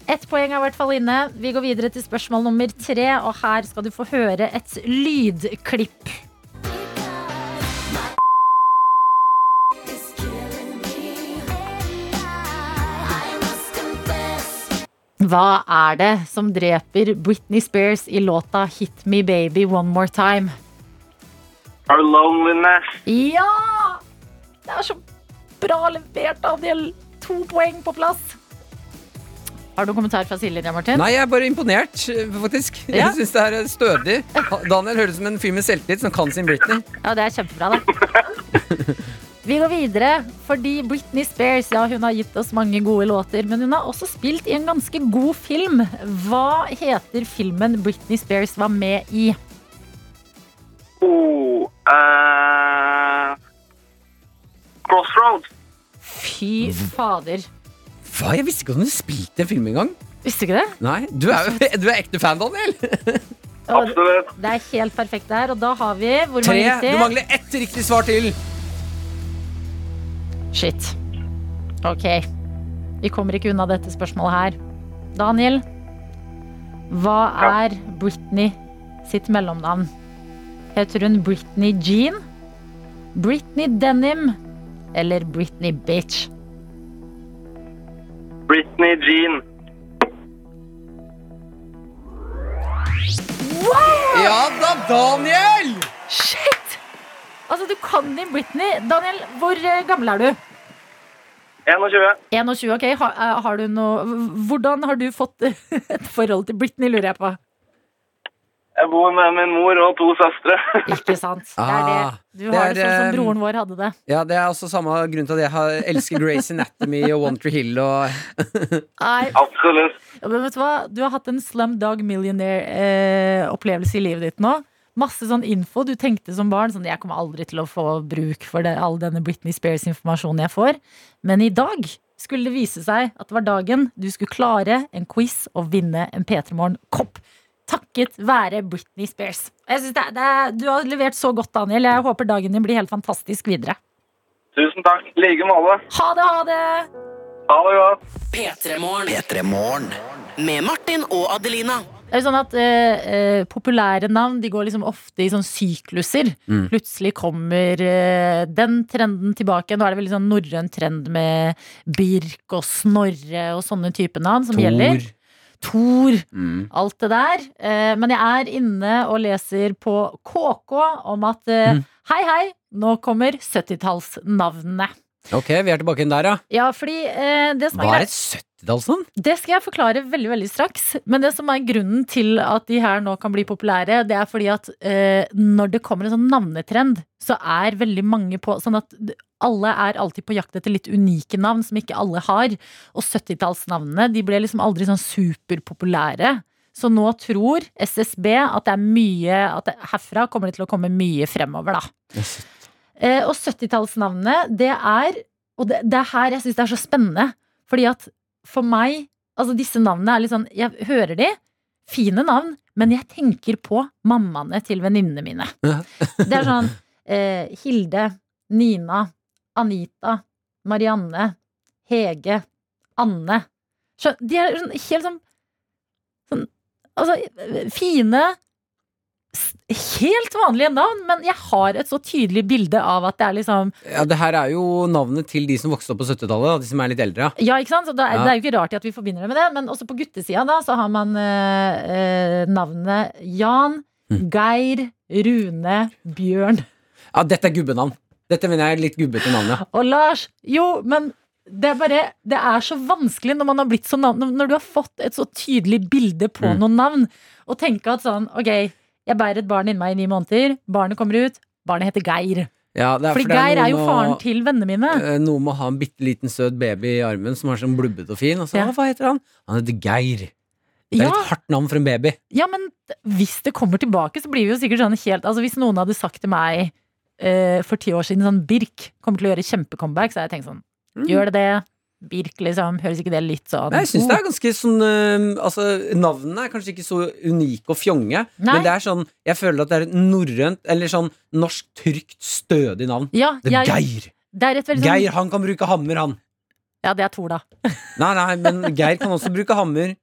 B: Ett poeng er i hvert fall inne. Vi går videre til spørsmål nummer tre, og her skal du få høre et lydklipp. Hva er det som dreper Britney Spears i låta 'Hit Me Baby One More Time'?
G: Our loneliness.
B: Ja! Det er så bra levert, Daniel. To poeng på plass. Har du noen kommentar fra Silje, Martin?
C: Nei, jeg er bare imponert, øh, faktisk.
B: Ja.
C: Jeg syns det her er stødig. Ha- Daniel høres ut som en fyr med selvtillit som kan sin Britney.
B: Ja, det er kjempebra, det. Vi går videre, fordi Britney Spears ja, hun har gitt oss mange gode låter. Men hun har også spilt i en ganske god film. Hva heter filmen Britney Spears var med i?
G: Oh, eh, crossroads.
B: Fy fader.
C: Hva? Jeg visste ikke at du spilte en film engang.
B: Visste du ikke det?
C: Nei, du er, jo- du er ekte fan, Daniel.
B: Og
G: Absolutt.
B: det er helt perfekt der. Og da har vi hvor mange
C: Tre.
B: riktige?
C: Du mangler ett riktig svar til.
B: Shit. Ok. Vi kommer ikke unna dette spørsmålet her. Daniel, hva
G: Ja.
B: er Britney sitt mellomnavn? Heter hun Britney Jean, Britney Denim eller Britney Bitch?
G: Britney Jean.
C: Ja da, Daniel!
B: Shit! Altså, du kan din Britney. Daniel, hvor eh, gammel er du?
G: 21.
B: 21, ok. Har, eh, har du noe Hvordan har du fått et forhold til Britney, lurer jeg på?
G: Jeg bor med min mor og to søstre.
B: Ikke sant? Det er
C: Ah,
B: det. Du har det,
C: det er,
B: sånn som
C: eh,
B: broren vår hadde det.
C: Ja, Det er også samme grunn til at jeg har, elsker Grace Anatomy og One Tree Hill. Og
B: Nei,
G: Absolutt.
B: Ja, Men vet du hva? Du har hatt en slumdog millionaire-opplevelse eh, i livet ditt nå. Masse sånn info du tenkte som barn. Sånn, jeg kommer aldri til å få bruk for det, all denne Britney Spears-informasjonen jeg får. Men i dag skulle det vise seg at det var dagen du skulle klare en quiz og vinne en P3 Morgen-kopp. Takket være Britney Spears. Og Jeg synes det, er- det, er- du har levert så godt, Daniel. Jeg håper dagen din blir helt fantastisk videre.
G: Tusen takk. I like måte.
B: Ha det, ha det!
G: Ha det godt.
D: P3 Morgen. Med Martin og Adelina.
B: Det er jo sånn at eh, eh, Populære navn de går liksom ofte i sånn sykluser.
C: Mm.
B: Plutselig kommer eh, den trenden tilbake. Nå er det veldig sånn norrøn trend med Birk og Snorre og sånne type navn som gjelder. Tor.
C: Mm.
B: Alt det der. Eh, men jeg er inne og leser på KK om at eh,
C: Mm.
B: hei, hei, nå kommer 70-tallsnavnene.
C: Ok, vi er tilbake inn der, ja.
B: Ja, fordi eh, det som er
C: Hva
B: greit-
C: er et 70-tallsnavn?
B: det skal jeg forklare veldig veldig straks. Men det som er grunnen til at de her nå kan bli populære, det er fordi at eh, når det kommer en sånn navnetrend, så er veldig mange på Sånn at d- alle er alltid på jakt etter litt unike navn som ikke alle har. Og 70-tallsnavnene de ble liksom aldri sånn superpopulære. Så nå tror SSB at det er mye At det, herfra kommer det til å komme mye fremover, da. Eh, og 70-tallsnavnet, det er Og det, det er her jeg syns det er så spennende. Fordi at for meg Altså, disse navnene er litt sånn Jeg hører de. Fine navn. Men jeg tenker på mammaene til venninnene mine. Det er sånn eh, Hilde, Nina, Anita, Marianne, Hege, Anne. Skjøn, de er sånn helt sånn, sånn Altså, fine, s- helt vanlige navn, men jeg har et så tydelig bilde av at det er liksom
C: Ja, det her er jo navnet til de som vokste opp på 70-tallet, da, de som er litt eldre. Ja.
B: Ja, ikke sant? Så da, er-
C: Ja.
B: Det er jo ikke rart at vi forbinder det med det, men også på guttesida da, så har man eh, eh, navnene Jan,
C: Mm.
B: Geir, Rune, Bjørn
C: ja, dette er gubbenavn. Dette mener jeg er litt gubbete navn, ja.
B: og Lars. Jo, men det er bare Det er så vanskelig når man har blitt så navn, Når du har fått et så tydelig bilde på
C: Mm.
B: noen navn, og tenke at sånn Ok, jeg bærer et barn inni meg i ni måneder, barnet kommer ut, barnet heter Geir.
C: ja det
B: Fordi
C: for det
B: Geir er jo
C: noe med
B: faren
C: å-
B: til vennene mine.
C: eh, Noe med å ha en bitte liten søt baby i armen som er sånn blubbete og fin. Og så,
B: Ja.
C: «Å, Hva heter han? Han heter Geir. Det er
B: Ja,
C: et hardt navn for en baby.
B: Ja, men t- hvis det kommer tilbake, så blir vi jo sikkert sånn helt Altså, hvis noen hadde sagt til meg eh, for ti år siden sånn Birk kommer til å gjøre kjempecomeback, så hadde jeg tenkt sånn Gjør det det? Birk, liksom. Høres ikke det litt sånn
C: Mm. Nei, jeg syns det er ganske sånn øhm, Altså, navnene er kanskje ikke så unike og fjonge,
B: Nei.
C: men det er sånn Jeg føler at det er et norrønt, eller sånn norsk, trygt, stødig navn.
B: Ja,
C: Det
B: jeg,
C: er Geir.
B: det er et veldig sånn
C: Geir, han kan bruke hammer, han.
B: Ja, det er Tor, da.
C: Nei, nei, men Geir kan også bruke hammer.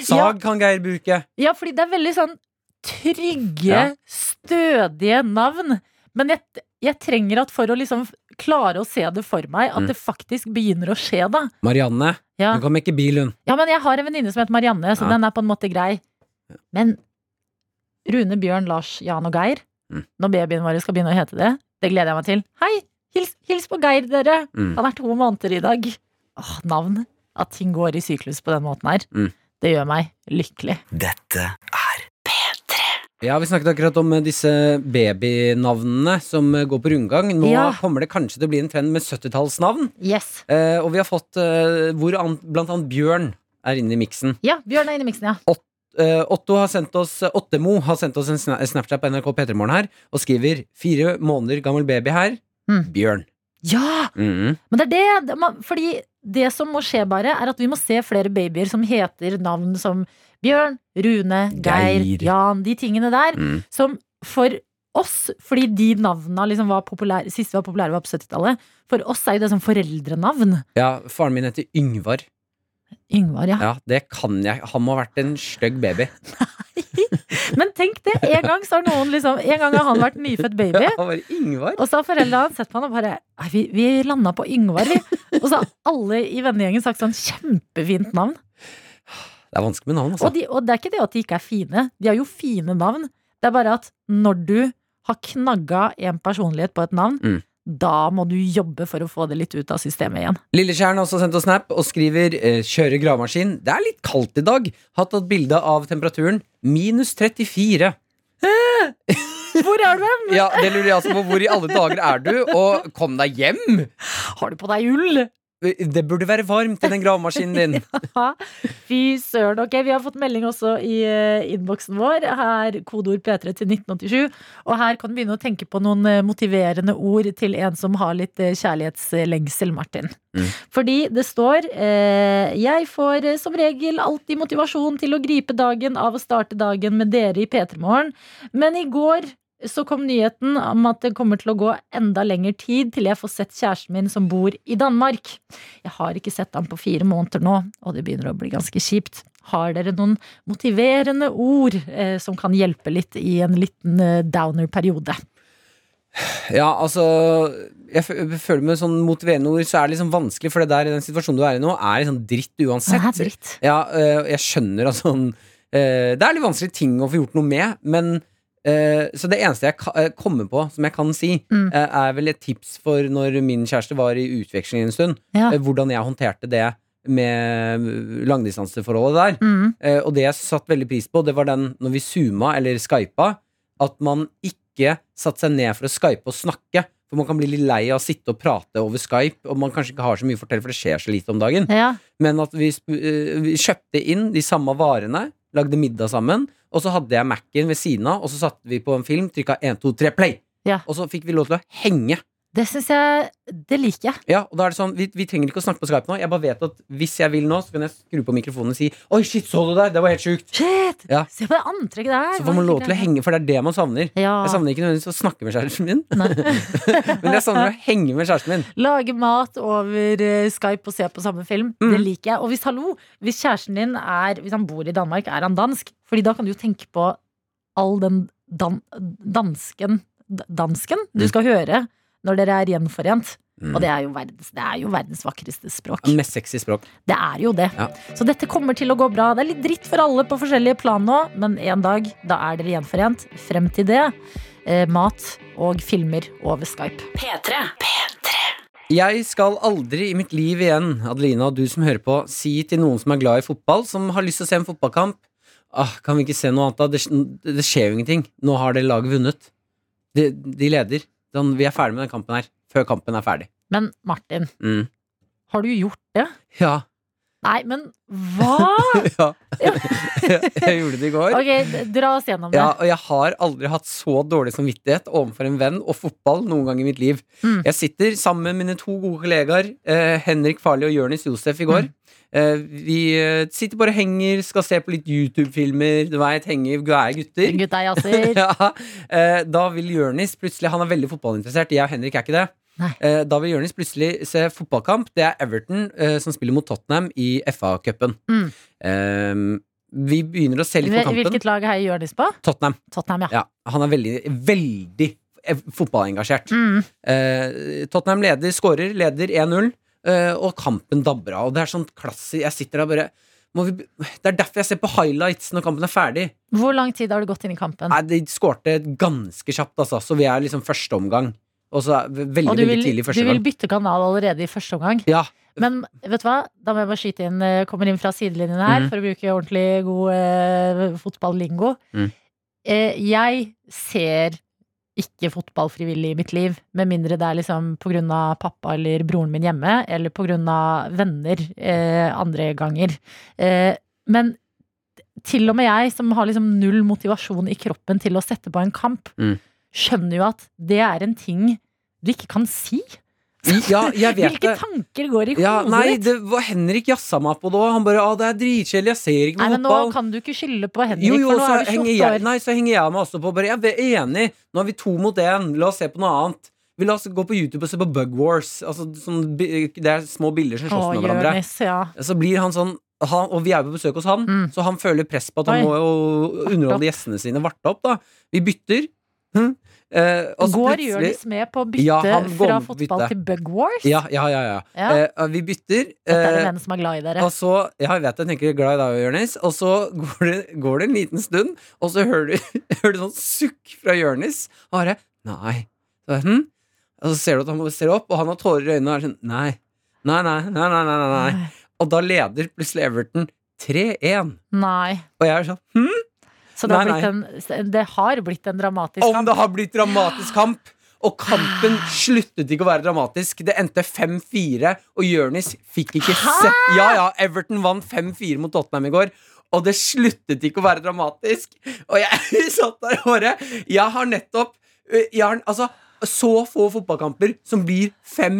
C: Sag kan Geir bruke.
B: Ja, fordi det er veldig sånn trygge,
C: Ja.
B: stødige navn. Men jeg, jeg trenger at for å liksom klare å se det for meg, at
C: Mm.
B: det faktisk begynner å skje, da.
C: Marianne,
B: Ja.
C: hun kan mekke bil, hun.
B: Ja, men jeg har en venninne som heter Marianne, så
C: Ja.
B: den er på en måte grei. Men Rune, Bjørn, Lars, Jan og Geir,
C: Mm.
B: når babyen vår skal begynne å hete det, det gleder jeg meg til. Hei! Hils, hils på Geir, dere!
C: Mm.
B: Han er to måneder i dag. Åh, navn. At ting går i syklus på den måten her.
C: Mm.
B: Det gjør meg lykkelig.
C: Ja, Vi snakket akkurat om eh, disse babynavnene som eh, går på rundgang. Nå
B: Ja.
C: kommer det kanskje til å bli en trend med 70-tallsnavn.
B: Yes.
C: Eh, og vi har fått eh, hvor an, blant annet Bjørn er inne i miksen.
B: Ja, Bjørn er inne i miksen, ja.
C: Eh, Otto har sendt oss eh, Ottemo har sendt oss en sna- Snapchat på NRK P3morgen her og skriver 'Fire måneder gammel baby her.
B: Mm.
C: Bjørn'. Mm-hmm.
B: Ja! Men det er det, det man, Fordi det som må skje bare Er at vi må se flere babyer som heter navn som Bjørn, Rune, Geir,
C: Geir.
B: Jan De tingene der
C: Mm.
B: Som for oss, fordi de navnene liksom var populære Sist var populære var på 70-tallet For oss er jo det som foreldrenavn
C: Ja, faren min heter Yngvar.
B: Yngvar, ja
C: Ja, det kan jeg. Han må ha vært en stygg baby.
B: Men tenk det, en gang så har noen liksom En gang har han vært nyfødt baby
C: Han var Yngvar.
B: Og så har foreldrene hans sett på han og bare «Nei, vi, vi landa på Yngvar vi. Og så har alle i vennegjengen sagt sånn Kjempefint navn
C: Det er vanskelig med navn, altså.
B: Og, de, og det er ikke det at de ikke er fine. De har jo fine navn. Det er bare at når du har knagga en personlighet på et navn,
C: Mm.
B: da må du jobbe for å få det litt ut av systemet igjen.
C: Lillekjern har også sendt oss snap og skriver eh, 'kjøre gravemaskin'. Det er litt kaldt i dag. Har tatt bilde av temperaturen. Minus 34.
B: Hvor er du hen?
C: Ja, det lurer jeg altså på. Hvor i alle dager er du? Og kom deg hjem!
B: Har du på deg ull?
C: Det burde være varmt i den gravemaskinen din.
B: Ja, Fy søren. Ok, vi har fått melding også i eh, innboksen vår. Her kodeord P3 til 1987. Og her kan du begynne å tenke på noen eh, motiverende ord til en som har litt eh, kjærlighetslengsel, Martin. Fordi det står eh, Jeg får eh, som regel alltid motivasjon til å gripe dagen av å starte dagen med dere i P3 Morgen, men i går så kom nyheten om at det kommer til å gå enda lengre tid til jeg får sett kjæresten min som bor i Danmark. Jeg har ikke sett ham på fire måneder nå, og det begynner å bli ganske kjipt. Har dere noen motiverende ord eh, som kan hjelpe litt i en liten eh, downer-periode?
C: Ja, altså Jeg fø- føler med sånn motiverende ord så er det liksom vanskelig, for det der i den situasjonen du er i nå, er liksom dritt uansett.
B: Det er dritt.
C: Ja, øh, jeg skjønner at sånn øh, Det er litt vanskelig ting å få gjort noe med, men øh, Så det eneste jeg ka- øh, kommer på som jeg kan si,
B: Mm.
C: øh, er vel et tips for når min kjæreste var i utveksling en stund,
B: Ja.
C: øh, hvordan jeg håndterte det med øh, langdistanseforholdet der.
B: Mm.
C: Eh, Og det jeg satt veldig pris på, det var den når vi zooma eller skypa, at man ikke satte seg ned for å skype og snakke. For man kan bli litt lei av å sitte og prate over Skype, og man kanskje ikke har så mye å fortelle, for det skjer så lite om dagen.
B: Ja.
C: Men at vi, sp- eh, vi kjøpte inn de samme varene, lagde middag sammen, og så hadde jeg Mac-en ved siden av, og så satte vi på en film, trykka 1, 2, 3, play!
B: Ja.
C: Og så fikk vi lov til å henge.
B: Det syns jeg Det liker jeg.
C: Ja, og da er det sånn, vi, vi trenger ikke å snakke på Skype nå. Jeg bare vet at hvis jeg vil nå, så kan jeg skru på mikrofonen og si 'Oi, shit, så du der? Det var helt sjukt'.
B: Shit!
C: Ja.
B: Se på det antrekket der.
C: Så får man lov til å henge, for det er det man savner.
B: Ja.
C: Jeg savner ikke nødvendigvis å snakke med kjæresten min,
B: Nei.
C: men jeg savner å henge med kjæresten min.
B: Lage mat over eh, Skype og se på samme film. Det
C: Mm.
B: liker jeg. Og hvis, hallo, hvis kjæresten din er, hvis han bor i Danmark, er han dansk? Fordi da kan du jo tenke på all den dan dansken d- Dansken
C: Mm.
B: du skal høre når dere er gjenforent. Og det er, jo verdens, det er jo verdens vakreste språk.
C: Mest sexy språk.
B: Det er jo det.
C: Ja.
B: Så dette kommer til å gå bra. Det er litt dritt for alle på forskjellige plan nå, men en dag, da er dere gjenforent. Frem til det, eh, mat og filmer over Skype.
D: P3.
C: Jeg skal aldri i mitt liv igjen, Adelina og du som hører på, si til noen som er glad i fotball, som har lyst til å se en fotballkamp ah, Kan vi ikke se noe annet, da? Det, det skjer jo ingenting. Nå har det laget vunnet. De, de leder. Sånn, vi er ferdig med den kampen her. Før kampen er ferdig.
B: Men Martin,
C: Mm.
B: har du gjort det?
C: Ja.
B: Nei, men hva?
C: ja. jeg gjorde det i går.
B: Ok, d- dra oss gjennom det.
C: Ja, og jeg har aldri hatt så dårlig samvittighet overfor en venn og fotball noen gang i mitt liv.
B: Mm.
C: Jeg sitter sammen med mine to gode kollegaer, eh, Henrik Farli og Jonis Josef, i går.
B: Mm.
C: Eh, vi eh, sitter bare og henger, skal se på litt YouTube-filmer, du veit, henger, greier gutter.
B: Gutta jazzer.
C: Ja, eh, da vil Jonis plutselig Han er veldig fotballinteressert, jeg og Henrik er ikke det.
B: Nei.
C: Eh, Da vil Jonis plutselig se fotballkamp. Det er Everton eh, som spiller mot Tottenham i FA-cupen.
B: Mm.
C: Eh, vi begynner å se litt på
B: Hvil-
C: kampen.
B: Hvilket lag heier Jonis på?
C: Tottenham.
B: Tottenham, ja.
C: Ja, han er veldig, veldig eh, fotballengasjert.
B: Mm.
C: Eh, Tottenham leder, skårer, leder 1-0, eh, og kampen dabber av. Og det er sånn klassisk Jeg sitter der og bare må vi, be- Det er derfor jeg ser på highlights når kampen er ferdig.
B: Hvor lang tid har du gått inn i kampen?
C: Nei, De skårte ganske kjapt, altså, så vi er liksom første omgang. Og så er vi veldig,
B: Og du
C: veldig
B: vil,
C: tidlig
B: du
C: første
B: vil
C: gang.
B: bytte kanal allerede i første omgang?
C: Ja,
B: Men vet du hva? Da må jeg bare skyte inn eh, Kommer inn fra sidelinjen her
C: Mhm.
B: For å bruke ordentlig god eh, fotball-lingo
C: Mm.
B: eh, Jeg ser ikke fotball frivillig i mitt liv Med mindre det er liksom på grunn av pappa eller broren min hjemme Eller på grunn av venner eh, andre ganger eh, Men til og med jeg som har liksom null motivasjon i kroppen til å sette på en kamp
C: Mm.
B: Skjønner jo at det er en ting du ikke kan si
C: ja jeg vet
B: Hvilke
C: det.
B: tanker går i hodet
C: Ja, nei,
B: ditt?
C: det var Henrik jassa meg på det òg. Han bare 'Å, det er dritkjedelig, jeg ser ikke på
B: Nei, men nå
C: fotball'.
B: kan du ikke skylde på Henrik,
C: Jo, jo,
B: for nå
C: så
B: er du 28
C: henger jeg,
B: år.
C: nei, så henger jeg meg også på. Bare, jeg er enig. Nå er vi to mot én. La oss se på noe annet. Vi la oss gå på YouTube og se på Bug Wars. Altså, sånn, bi- det er små bilder som
B: Å,
C: slåss med hverandre.
B: Jonis, ja.
C: Så blir han sånn han, Og vi er jo på besøk hos han,
B: Mm.
C: så han føler press på at
B: Oi.
C: han må jo
B: opp.
C: underholde gjestene sine. Varte opp, da. Vi bytter. Hm. Eh, og så
B: Går
C: plutselig-
B: Jonis med på å bytte
C: Ja, han går
B: fra
C: med på å
B: fotball
C: bytte.
B: til Bug Wars?
C: Ja, ja, ja. ja.
B: Ja.
C: Eh, vi bytter.
B: Dette er det
C: eh,
B: menn som er glad i dere.
C: Og så, ja, jeg vet jeg tenker glad i deg, Jørnis Og så går det, går det en liten stund Og så hører du, hører du sånn sukk fra Jørnis Og bare, nei Så bare, hm? Og så ser du at han bare ser opp Og han har tårer i øynene og er sånn, nei Nei, nei, nei, nei, nei, nei, nei. Og da leder plutselig Everton 3-1
B: Nei.
C: Og jeg er sånn, hm?
B: Så det har,
C: Nei,
B: blitt en, det har blitt en dramatisk
C: Om
B: kamp.
C: det har blitt dramatisk kamp og kampen sluttet ikke å være dramatisk. Det endte 5-4, og Jørnis fikk ikke sett Ja, ja, Everton vant 5-4 mot Tottenham i går. Og det sluttet ikke å være dramatisk. Og jeg satt der og bare Jeg har nettopp jeg har, altså, så få fotballkamper som blir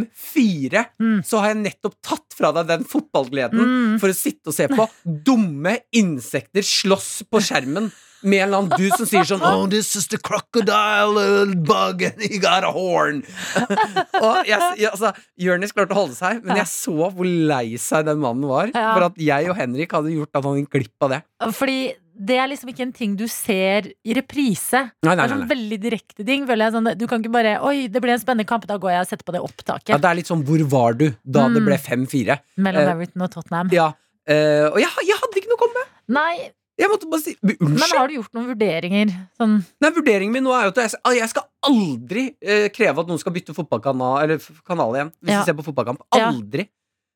C: 5-4,
B: Mm.
C: så har jeg nettopp tatt fra deg den fotballgleden for å sitte og se på dumme insekter slåss på skjermen. Med en eller annen dude som sier sånn Oh, this is the crocodile uh, bug and he got a horn. og jeg, jeg, altså, Jonis klarte å holde seg, men jeg så hvor lei seg den mannen var.
B: Ja.
C: For at jeg og Henrik hadde gjort at han gikk glipp av det.
B: Fordi det er liksom ikke en ting du ser i reprise.
C: Nei,
B: det
C: nei,
B: er
C: nei,
B: sånn
C: nei.
B: veldig direkte ting. Føler jeg sånn, du kan ikke bare Oi, det ble en spennende kamp, da går jeg og setter på det
C: Ja,
B: opptaket
C: det er litt sånn 'Hvor var du?' da det
B: Mm.
C: ble 5-4.
B: mellom
C: eh,
B: Everton og Tottenham.
C: Ja, eh, og jeg, jeg hadde ikke noe å komme med.
B: Nei,
C: Jeg måtte bare si men
B: men
C: Unnskyld!
B: har du gjort noen vurderinger? Sånn
C: Nei, Vurderingen min nå er jo at jeg, ah, jeg skal aldri eh, kreve at noen skal bytte fotballkanal Eller f- kanal igjen hvis
B: Ja.
C: de ser på fotballkamp.
B: Ja.
C: Aldri!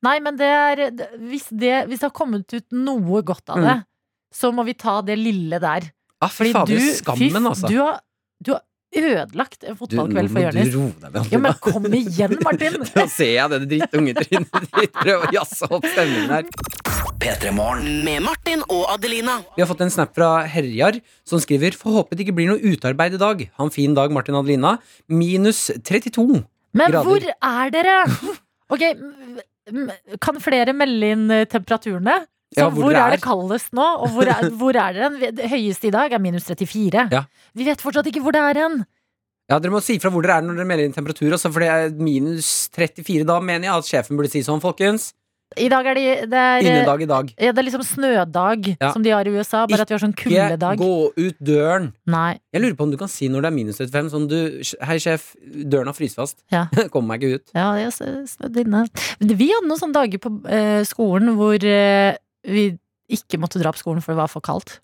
B: Nei, men det er det- hvis det, hvis det har kommet ut noe godt av
C: Mm.
B: det, så må vi ta det lille der.
C: Ah, fy fader, skammen,
B: fy,
C: altså.
B: du, har, du har ødelagt en
C: Du, nå
B: fotballkveld for
C: må du
B: Jonis.
C: roe deg ned.
B: Ja, men kom igjen, Martin!
C: Nå ser jeg det drittunge trynet ditt prøve å jazze opp stemningen her.
D: Med Martin og Adelina.
C: Vi har fått en snap fra Herjar som skriver Får håpe det ikke blir noe utarbeid i dag. Ha en fin dag, Martin Adelina. Minus 32.
B: Men
C: grader.
B: hvor er dere? Ok, m- m- kan flere melde inn eh, temperaturene? Så
C: Ja, hvor
B: hvor,
C: dere
B: er det
C: er.
B: kaldest nå, og hvor er, hvor er dere? hen? Det høyeste i dag er minus 34.
C: Ja.
B: Vi vet fortsatt ikke hvor det er hen.
C: Ja, Dere må si fra hvor dere er når dere melder inn temperatur. Altså, for det er minus 34 da, mener jeg at sjefen burde si sånn, folkens.
B: I dag er det, det er, eh,
C: Innedag i dag.
B: Ja, det er liksom snødag,
C: Ja.
B: som de har i USA, bare at vi har sånn
C: Ikke
B: kuldedag.
C: gå ut døren.
B: Nei.
C: Jeg lurer på om du kan si når det er minus 35. Sånn du Hei, sjef, døren har fryst fast.
B: Ja.
C: Kommer meg ikke ut.
B: Ja, jeg s- snødde inne. Men Vi hadde noen sånne dager på eh, skolen hvor eh, vi ikke måtte dra på skolen for det var for kaldt.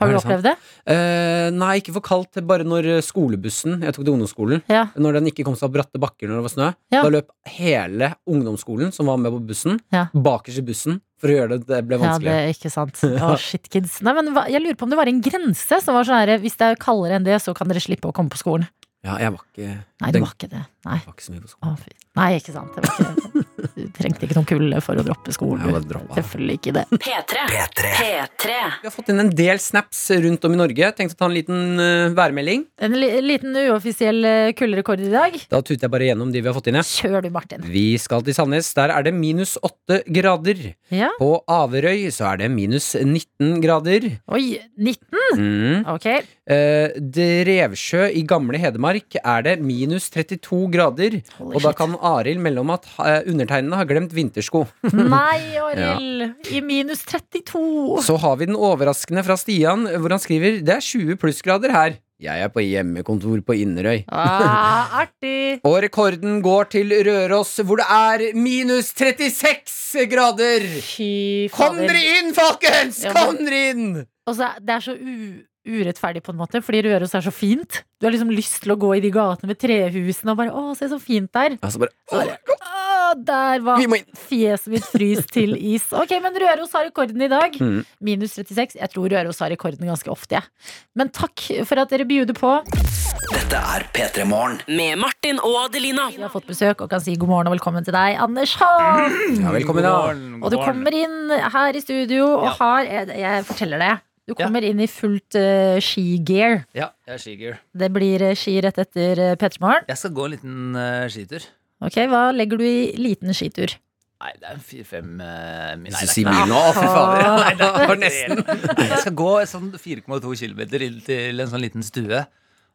B: Har
C: Er
B: du
C: det sant?
B: opplevd det?
C: Eh, nei, ikke for kaldt. Bare når eh, skolebussen Jeg tok til ungdomsskolen.
B: Ja.
C: Når den ikke kom seg opp bratte bakker når det var snø.
B: Ja.
C: Da løp hele ungdomsskolen som var med på bussen,
B: Ja.
C: bakerst i bussen for å gjøre det. Det ble
B: Ja,
C: vanskelig.
B: det er ikke sant. Å, shit, kids. Nei, men hva- jeg lurer på om det var en grense som var sånn her Hvis det er kaldere enn det, så kan dere slippe å komme på skolen.
C: Ja, jeg var ikke,
B: Nei, det
C: Den-
B: var ikke det. Nei,
C: var ikke så mye på skolen.
B: å, fy. Nei ikke sant. Det var ikke, du trengte ikke noen kulde for å droppe skolen.
C: Jeg bare droppa det.
B: Selvfølgelig ikke det.
D: P3. P3.
C: Vi har fått inn en del snaps rundt om i Norge. Tenkte å ta en liten eh, værmelding.
B: En li liten uoffisiell eh, kulderekord i dag.
C: Da tuter jeg bare gjennom de vi har fått inn. Ja.
B: Kjør du, Martin.
C: Vi skal til Sandnes. Der er det minus åtte grader.
B: Ja.
C: På Averøy så er det minus 19 grader.
B: Oi, 19?
C: Mm.
B: Ok.
C: Eh, Drevsjø i gamle Hedmark er det minus 32 grader.
B: Holy
C: Og da
B: shit.
C: kan Arild melde om at eh, undertegnede har glemt vintersko.
B: Nei, Arild. I minus 32.
C: Så har vi den overraskende fra Stian, hvor han skriver det er 20 plussgrader her. Jeg er på hjemmekontor på Inderøy.
B: Ah, artig.
C: Og rekorden går til Røros, hvor det er minus 36 grader!
B: Fy
C: Kom
B: fader.
C: dere inn, folkens!
B: Ja, men-
C: Kom dere inn!
B: Og så er- det er så u urettferdig på en måte, fordi Røros er så fint. Du har liksom lyst til å gå i de gatene med trehusene og bare Å, se så fint der.
C: Altså bare,
B: Så bare, Å, der var
C: Vi må inn.
B: fjeset mitt fryst til is. Ok, men Røros har rekorden i dag.
C: Mm.
B: Minus 36. Jeg tror Røros har rekorden ganske ofte, jeg. Men takk for at dere bjuder på.
D: Med Martin og Adelina.
B: Vi har fått besøk og kan si god morgen og velkommen til deg, Anders Holm.
C: Ja, velkommen, da.
B: Og du kommer inn her i studio og har Jeg, jeg forteller det. Du kommer inn i fullt eh, skigear.
H: Ja, jeg er skigear.
B: Det blir eh, ski rett etter uh, P3morgen.
H: Jeg skal gå en liten eh, skitur.
B: Ok, hva legger du i liten skitur?
H: Nei, det er en fire-fem uh, Nei,
C: Hvis du
H: det
C: sier mil nå, fy fader. Nei, det var nesten.
H: Nei, jeg skal gå sånn 4,2 km inn til en sånn liten stue.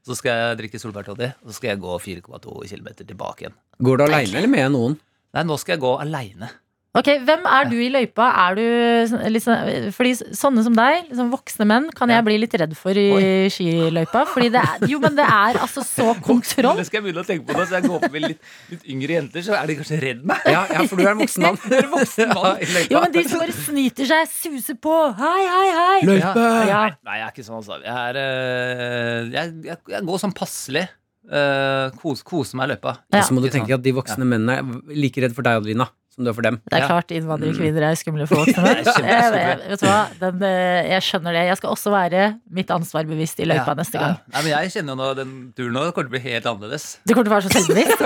H: Så skal jeg drikke solbærtoddy, og så skal jeg gå 4,2 km tilbake igjen.
C: Går du aleine eller med noen?
H: Nei, nå skal jeg gå aleine.
B: Ok, Hvem er du i løypa? Er du sånn- litt sånn- Fordi sånne som deg, liksom voksne menn, kan jeg bli litt redd for i skiløypa. Fordi det er, jo, men det er altså så kontroll.
H: Det skal jeg begynne å tenke på nå, så jeg går på med litt, litt yngre jenter, så er de kanskje redd meg.
C: Ja, ja, for du er en voksen mann.
H: Jeg er en voksen mann.
B: Jo, men de som bare snyter seg, suser på. Hei, hei, hei. Ja.
H: Nei, nei, jeg er ikke sånn, altså. Jeg, er, eh, jeg, jeg, jeg går sånn passelig. eh, kos, kose meg i løypa.
B: Ja.
C: Og så må du tenke at de voksne mennene er like redd for deg, Adelina, som du er for dem.
B: Det er
H: Ja. Mm.
B: klart innvandrerkvinner er skumle folk. Men,
H: Det er kjempe-
B: jeg, jeg, vet du hva? Den, eh, jeg skjønner det. Jeg skal også være mitt ansvar bevisst i løypa
H: Ja,
B: neste
H: ja.
B: gang.
H: Nei, men jeg kjenner jo nå den turen nå kommer til å bli helt annerledes.
B: Det kommer til å være så selvbevisst.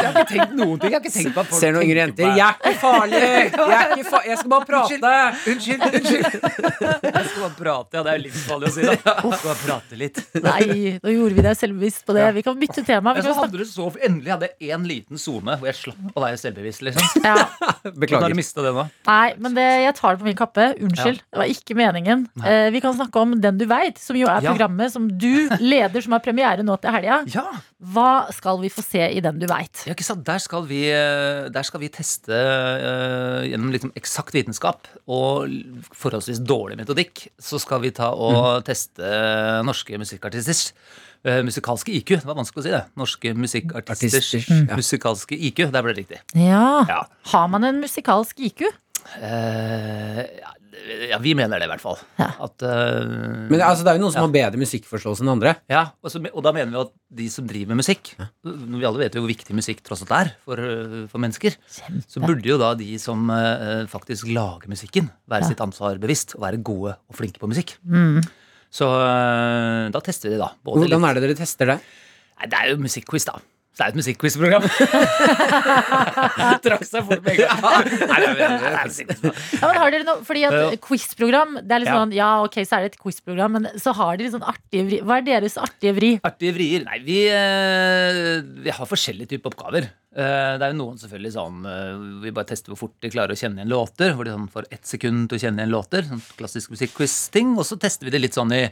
H: Jeg har ikke tenkt noen ting. Jeg har ikke tenkt på at folk
C: Ser noen yngre jenter.
H: tenker på meg.
C: Jeg er ikke farlig! Jeg, er ikke fa jeg skal bare prate!
H: Unnskyld, unnskyld. Jeg skal bare prate, ja. Det er jo livsfarlig å si, da. Jeg skal bare prate litt.
B: Nei, nå gjorde vi deg selvbevisst på det. Vi kan bytte tema. Vi
H: Men så
B: kan snakke.
H: hadde du så Endelig hadde jeg én liten sone hvor jeg slapp å være selvbevisst, liksom.
B: Ja.
H: Hvordan har
C: Beklager.
H: du mista det nå?
B: Nei, men det, jeg tar det på min kappe. Unnskyld. Det var ikke meningen. Eh, vi kan snakke om Den du veit, som jo er
H: Ja.
B: programmet som du leder, som har premiere nå til helga.
H: Ja,
B: Hva skal vi få se i Den du veit?
H: ja ikke sant? Der skal vi, eh, der skal vi teste eh, gjennom liksom eksakt vitenskap og l- forholdsvis dårlig metodikk. Så skal vi ta
C: Mhm.
H: og teste norske musikkartisters eh, musikalske IQ. Det var vanskelig å si det. Norske musikkartisters
C: Artister, mm, ja.
H: musikalske IQ. Der ble det riktig.
B: Ja.
H: Ja.
B: Har man en musikalsk IQ?
H: Eh, ja, ja, vi mener det i hvert fall.
B: Ja.
H: At, eh,
C: Men altså, det er jo noen som har bedre musikkforståelse enn andre.
H: ja, og, så, og da mener vi at de som driver med musikk Vi alle vet jo hvor viktig musikk tross alt er for, eh, for mennesker. Så burde jo da de som eh, faktisk lager musikken, være sitt ansvar bevisst og være gode og flinke på musikk. Så eh, da tester vi, da. Både
C: Hvordan
H: litt-
C: er det dere tester det?
H: Nei, det er jo musikkquiz, da. Så det er jo et musikkquiz-program. Trakk seg fort med en gang. Nei, det er- det er musikkquiz.
B: Ja, men har dere noe, fordi
H: Ja.
B: at quizprogram Det er litt
H: Ja.
B: sånn, ja ok, så er det et quizprogram Men så har de litt sånn artige vri Hva er deres artige vri?
H: Artige vrier. Nei, vi, eh, vi har forskjellige typer oppgaver. Eh, Det er jo noen selvfølgelig sånn eh, Vi bare tester hvor fort de klarer å kjenne igjen låter. Hvor de sånn får ett sekund til å kjenne igjen låter. Sånn klassisk musikkquiz-ting. Og så tester vi det litt sånn i,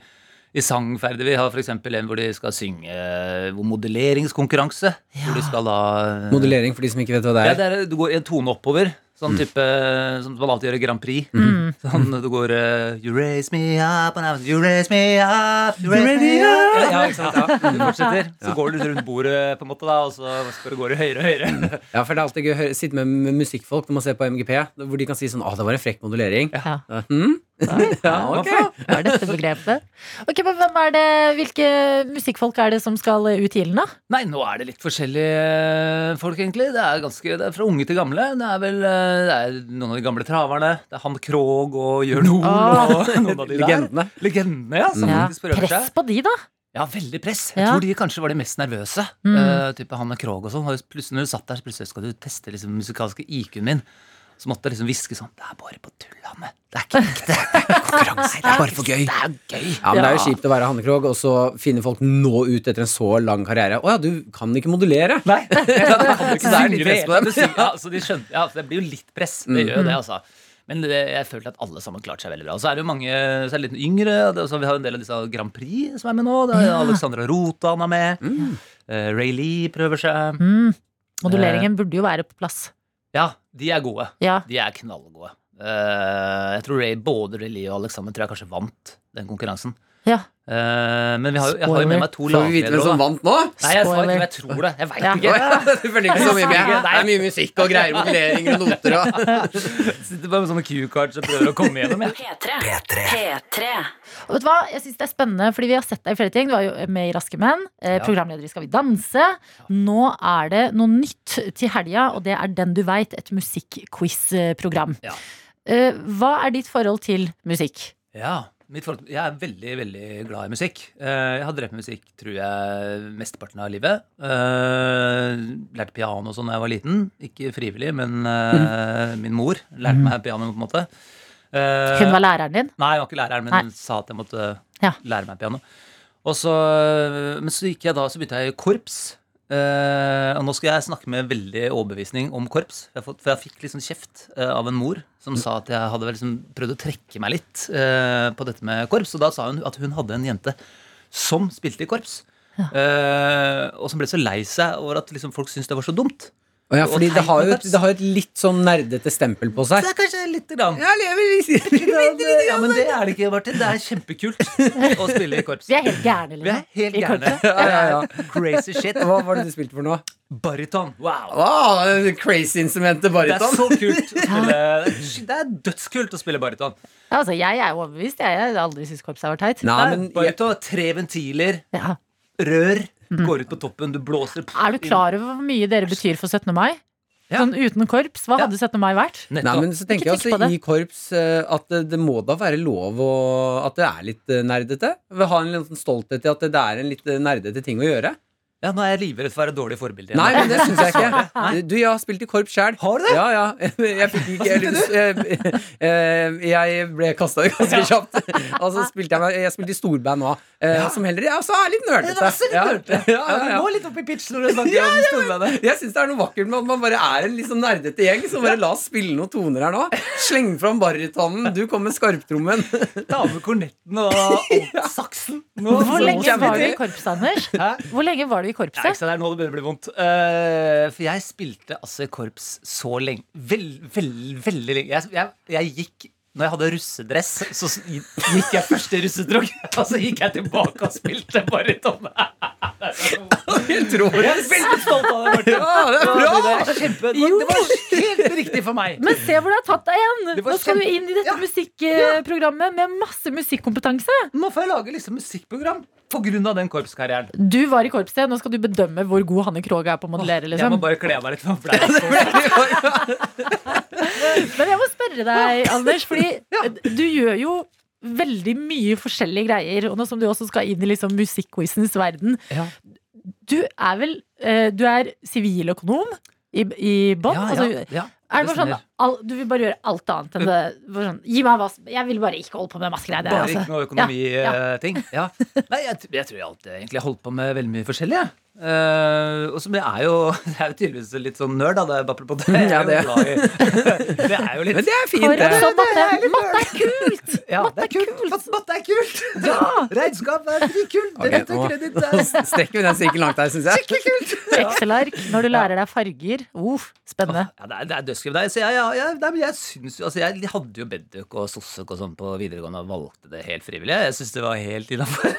H: i sangferdig. Vi har f.eks. en hvor de skal synge eh, hvor modelleringskonkurranse. Hvor de skal da eh,
C: Modellering for de som ikke vet hva det
H: ja,
C: er.
H: det er, du går en tone oppover. Sånn type som man alltid gjør i Grand Prix. Sånn du går eh, You raise me up, and I'm, you raise me up, you raise me up. Ja, ikke sant, ja.
C: Mm.
H: Du fortsetter. Så går du litt rundt bordet, på en måte, da, og så skal du gå høyere og høyere.
C: Ja, for det er alltid gøy å høre- sitte med med musikkfolk når man ser på MGP, hvor de kan si sånn Å, det var en frekk modellering.
B: Ja.
C: Hm? Ja, ok.
B: Hva er dette begrepet? Ok, men hvem er det, hvilke musikkfolk er det som skal ut i ilden da?
H: Nei, nå er det litt forskjellige eh, folk, egentlig. Det er, ganske, det er fra unge til gamle. Det er vel eh, det er noen av de gamle traverne. Det er Han Krog og Jørn Hoel og noen av de der.
C: Legendene.
H: Legendene, Ah. ja. Som
B: Ja.
H: faktisk prøver seg.
B: Press på de da
H: Ja, veldig press. Jeg
B: Ja.
H: tror de kanskje var de mest nervøse.
B: Mm.
H: Eh, type han med Krog og sånn. Og Plutselig når du satt der, så plutselig skal du teste liksom, den musikalske IQ-en min. Så måtte jeg liksom hviske sånn Det er bare på tull, Hanne. Det er ikke ekte. Det er konkurranse. Det er bare for gøy. Det er gøy.
C: Ja, men Det er jo kjipt å være Hanne Krogh, og så finner folk nå ut etter en så lang karriere. Å ja, du kan ikke modellere!
H: Nei, det kommer ikke
C: Synger
H: der de
C: du
H: press på
C: hele
H: dem. Ja, så de skjønte, ja, så det blir jo litt press. Det gjør jo det, altså. Men det, jeg følte at alle sammen klarte seg veldig bra. Og så er det jo mange så er det litt yngre. og det- Så vi har jo en del av disse Grand Prix som er med nå. Det er
B: Ja.
H: Alexandra Rotan er med. Eh, Ray Lee prøver seg.
B: mm. Moduleringen burde jo være på plass
H: Ja, de er gode.
B: Ja,
H: De er knallgode. Eh, jeg tror Ray, både Ray Lee og Alexander tror jeg kanskje vant den konkurransen.
B: ja
H: Eh, men vi har, jo- jeg har jo med meg to
C: Får vi vite hvem
H: lagledere.
C: som
H: også.
C: vant nå?
H: Nei, jeg, svarer ikke,
B: Spoiler.
H: men jeg tror det. Jeg veit
B: Ja.
H: ikke.
C: Du følger ikke så mye med. Det er mye musikk og greier, modelleringer og noter og
H: Jeg sitter bare med sånne cue-cards og prøver å komme gjennom. Jeg.
D: P3. P3.
B: Og vet du hva? Jeg synes det er spennende, fordi vi har sett deg i flere ting. Du var jo med i Raske menn, eh,
H: Ja.
B: programleder i Skal vi danse. Nå er det noe nytt til helga, og det er Den du veit, et musikkquiz-program.
H: Ja.
B: Eh, hva er ditt forhold til musikk?
H: Ja, mitt forhold, jeg er veldig, veldig glad i musikk. Eh, jeg har drevet med musikk, tror jeg, mesteparten av livet. Eh, lærte piano og sånn da jeg var liten. Ikke frivillig, men eh, min mor lærte meg piano, på en måte.
B: Mhm.
H: Eh,
B: Hun var læreren din?
H: Nei, jeg var ikke læreren, men
B: Nei.
H: hun sa at jeg måtte
B: Ja.
H: lære meg piano. Og så, men så gikk jeg da, så begynte jeg i korps. Eh, og nå skal jeg snakke med veldig overbevisning om korps. Jeg har fått, for jeg fikk liksom kjeft eh, av en mor som sa at jeg hadde vel liksom prøvd å trekke meg litt eh, på dette med korps. Og da sa hun at hun hadde en jente som spilte i korps. Eh, og som ble så lei seg over at liksom folk syntes det var så dumt.
C: Å ja, fordi det har, jo et, det har jo et litt sånn nerdete stempel på seg.
H: Det er kanskje litt grann.
C: Jeg lever i
H: Ja, men det er det ikke, Martin. Det er kjempekult å spille i korps.
B: Vi er helt gærne,
H: Vi er
B: liksom.
H: helt
B: I
H: gærne.
B: korpset?
H: Ja, ja, ja. Crazy shit.
C: Hva var det du spilte for nå?
H: Bariton. Wow.
C: Wow, Crazy-instrumentet
H: Det er
C: bariton.
H: så kult å spille Det er dødskult å spille bariton.
B: Ja, altså, jeg er jo overbevist. Jeg har aldri syntes korps har vært teit.
C: Nei,
H: Det er
C: men jeg,
H: Bariton tre ventiler,
B: Ja.
H: rør, går ut på toppen, Mm. du blåser
B: Er du klar over hvor mye dere betyr for 17. mai?
H: Ja.
B: Sånn uten korps, hva
H: Ja.
B: hadde 17. mai vært?
H: Nettopp.
C: Nei, men så tenker jeg
B: Ikke tenk på
C: altså
B: det.
C: i korps eh, at det, det må da være lov å, at det er litt eh, nerdete. Vi har en liten stolthet i at det er en litt eh, nerdete ting å gjøre.
H: ja, nå er jeg livredd for å være et dårlig forbilde. igjen.
C: Nei, men det syns jeg ikke. Du, jeg har spilt i korps sjæl.
H: Har du det?
C: Ja, ja. Jeg fikk ikke jeg, jeg, jeg ble kasta ut ganske kjapt. Og så spilte jeg, meg- jeg spilte i storband òg, som heller ja, så er litt
H: Det var
C: nerdete.
H: så litt
C: Ja,
H: nerdete.
C: ja, ja, ja.
H: Nå litt opp i pitch når du snakker om storbandet.
C: Jeg syns det er noe vakkert med at man bare er en litt sånn nerdete gjeng. Så bare la oss spille noen toner her nå. Sleng fram barytonen. Du kom med skarptrommen.
H: Ta med kornetten og saksen. Nå,
B: Hvor lenge
C: kjempe-
B: var du i korpset, Anders?
H: Hæ?
B: Hvor lenge var du i
H: Ja, ikke
B: korpset?
H: sant, det er nå det begynner å bli vondt. Eh, for jeg spilte altså i korps så lenge. Vel, vel, veldig lenge. Jeg, jeg, jeg gikk når jeg hadde russedress, så s- gikk jeg først i russedrag. Og så gikk jeg tilbake og spilte bare i tomme.
C: Helt rå.
H: Jeg er veldig stolt av det, Martin.
C: Ja, det er bra!
H: Det, er kjempe, det var helt riktig for meg.
B: Men se hvor det har tatt deg igjen!
H: Det var
B: Nå skal du
H: kjempe-
B: inn i dette musikkprogrammet med masse musikkompetanse.
H: Nå får jeg lage liksom musikkprogram på grunn av den korpskarrieren.
B: Du var i korpset, nå skal du bedømme hvor god Hanne Krogh er på å modellere.
H: Jeg må
B: Liksom.
H: bare kle av meg litt. For det er så
B: Men jeg må spørre deg, Anders, fordi du gjør jo veldig mye forskjellige greier. Og nå som du også skal inn i liksom musikkquizens verden.
H: Ja.
B: Du er vel eh, Du er siviløkonom i, i bånn.
H: Ja,
B: altså,
H: ja, ja.
B: Er det
H: Det
B: bare sånn,
H: stemmer.
B: all, Du vil bare gjøre alt annet enn det bare sånn, Gi meg hva som- Jeg vil bare ikke holde på med masse greier. det er
H: Bare
B: altså-
H: ikke noe
B: Ja,
H: økonomiting. Ja, Nei, jeg, t- jeg tror jeg alltid egentlig har holdt på med veldig mye forskjellig. jeg. Eh, og som jeg er jo Jeg er jo tydeligvis litt sånn nerd, da. Det er, bare på det. Jeg
C: Ja,
H: er jo
C: det.
H: glad i. det er jo litt
C: Men det er fint,
B: For
C: det.
B: en sånn matte! Matte er kult!
H: ja, Matte er kult! Fast Matte er kult! Regnskap er dritkult!
C: Ok,
H: Rett og
C: nå-
H: kreditt
C: Nå
H: er
C: strekker vi den sirkelen langt der, syns jeg.
B: Excel-ark, når du lærer deg farger. Uff, spennende.
H: ja, det er, det er dødsgøy. Nei, så jeg, ja, jeg, nei, men jeg syns jo altså, Jeg hadde jo Bedduck og Sossek og sånn på videregående og valgte det helt frivillig. Jeg syns det var helt innafor.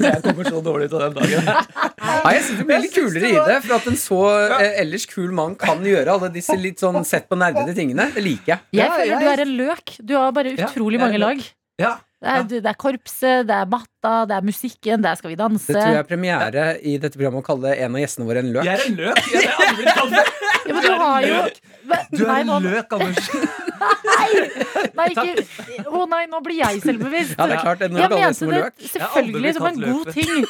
H: jeg kommer så dårlig ut av den dagen.
C: Nei, jeg synes det blir litt kulere i det, for at en så eh, ellers kul mann kan gjøre alle disse litt sånn sett på nerdete tingene. Det liker jeg.
B: Jeg
H: Ja,
B: føler
H: jeg-
B: du er en løk. Du har bare
H: Ja,
B: utrolig
H: jeg er
B: mange
H: en
B: lag.
H: Ja,
B: Det er, det er korpset, det er matta, det er musikken, der skal vi danse.
C: Det tror jeg er premiere i dette programmet å kalle en av gjestene våre en løk.
H: Jeg er en løk! Jeg er aldri blitt kalt løk.
B: Ja, men du har jo Hva-
H: Du er
B: Nei,
H: en
B: nå,
H: løk, Anders.
B: nei, ikke Å nei, nå blir jeg selvbevisst.
C: Ja, det er klart.
B: Jeg
C: Når du kaller
B: mente
C: gjesten vår
B: det
C: løk.
H: Jeg har aldri
B: selvfølgelig som en
H: blitt
B: god
H: kalt
B: ting.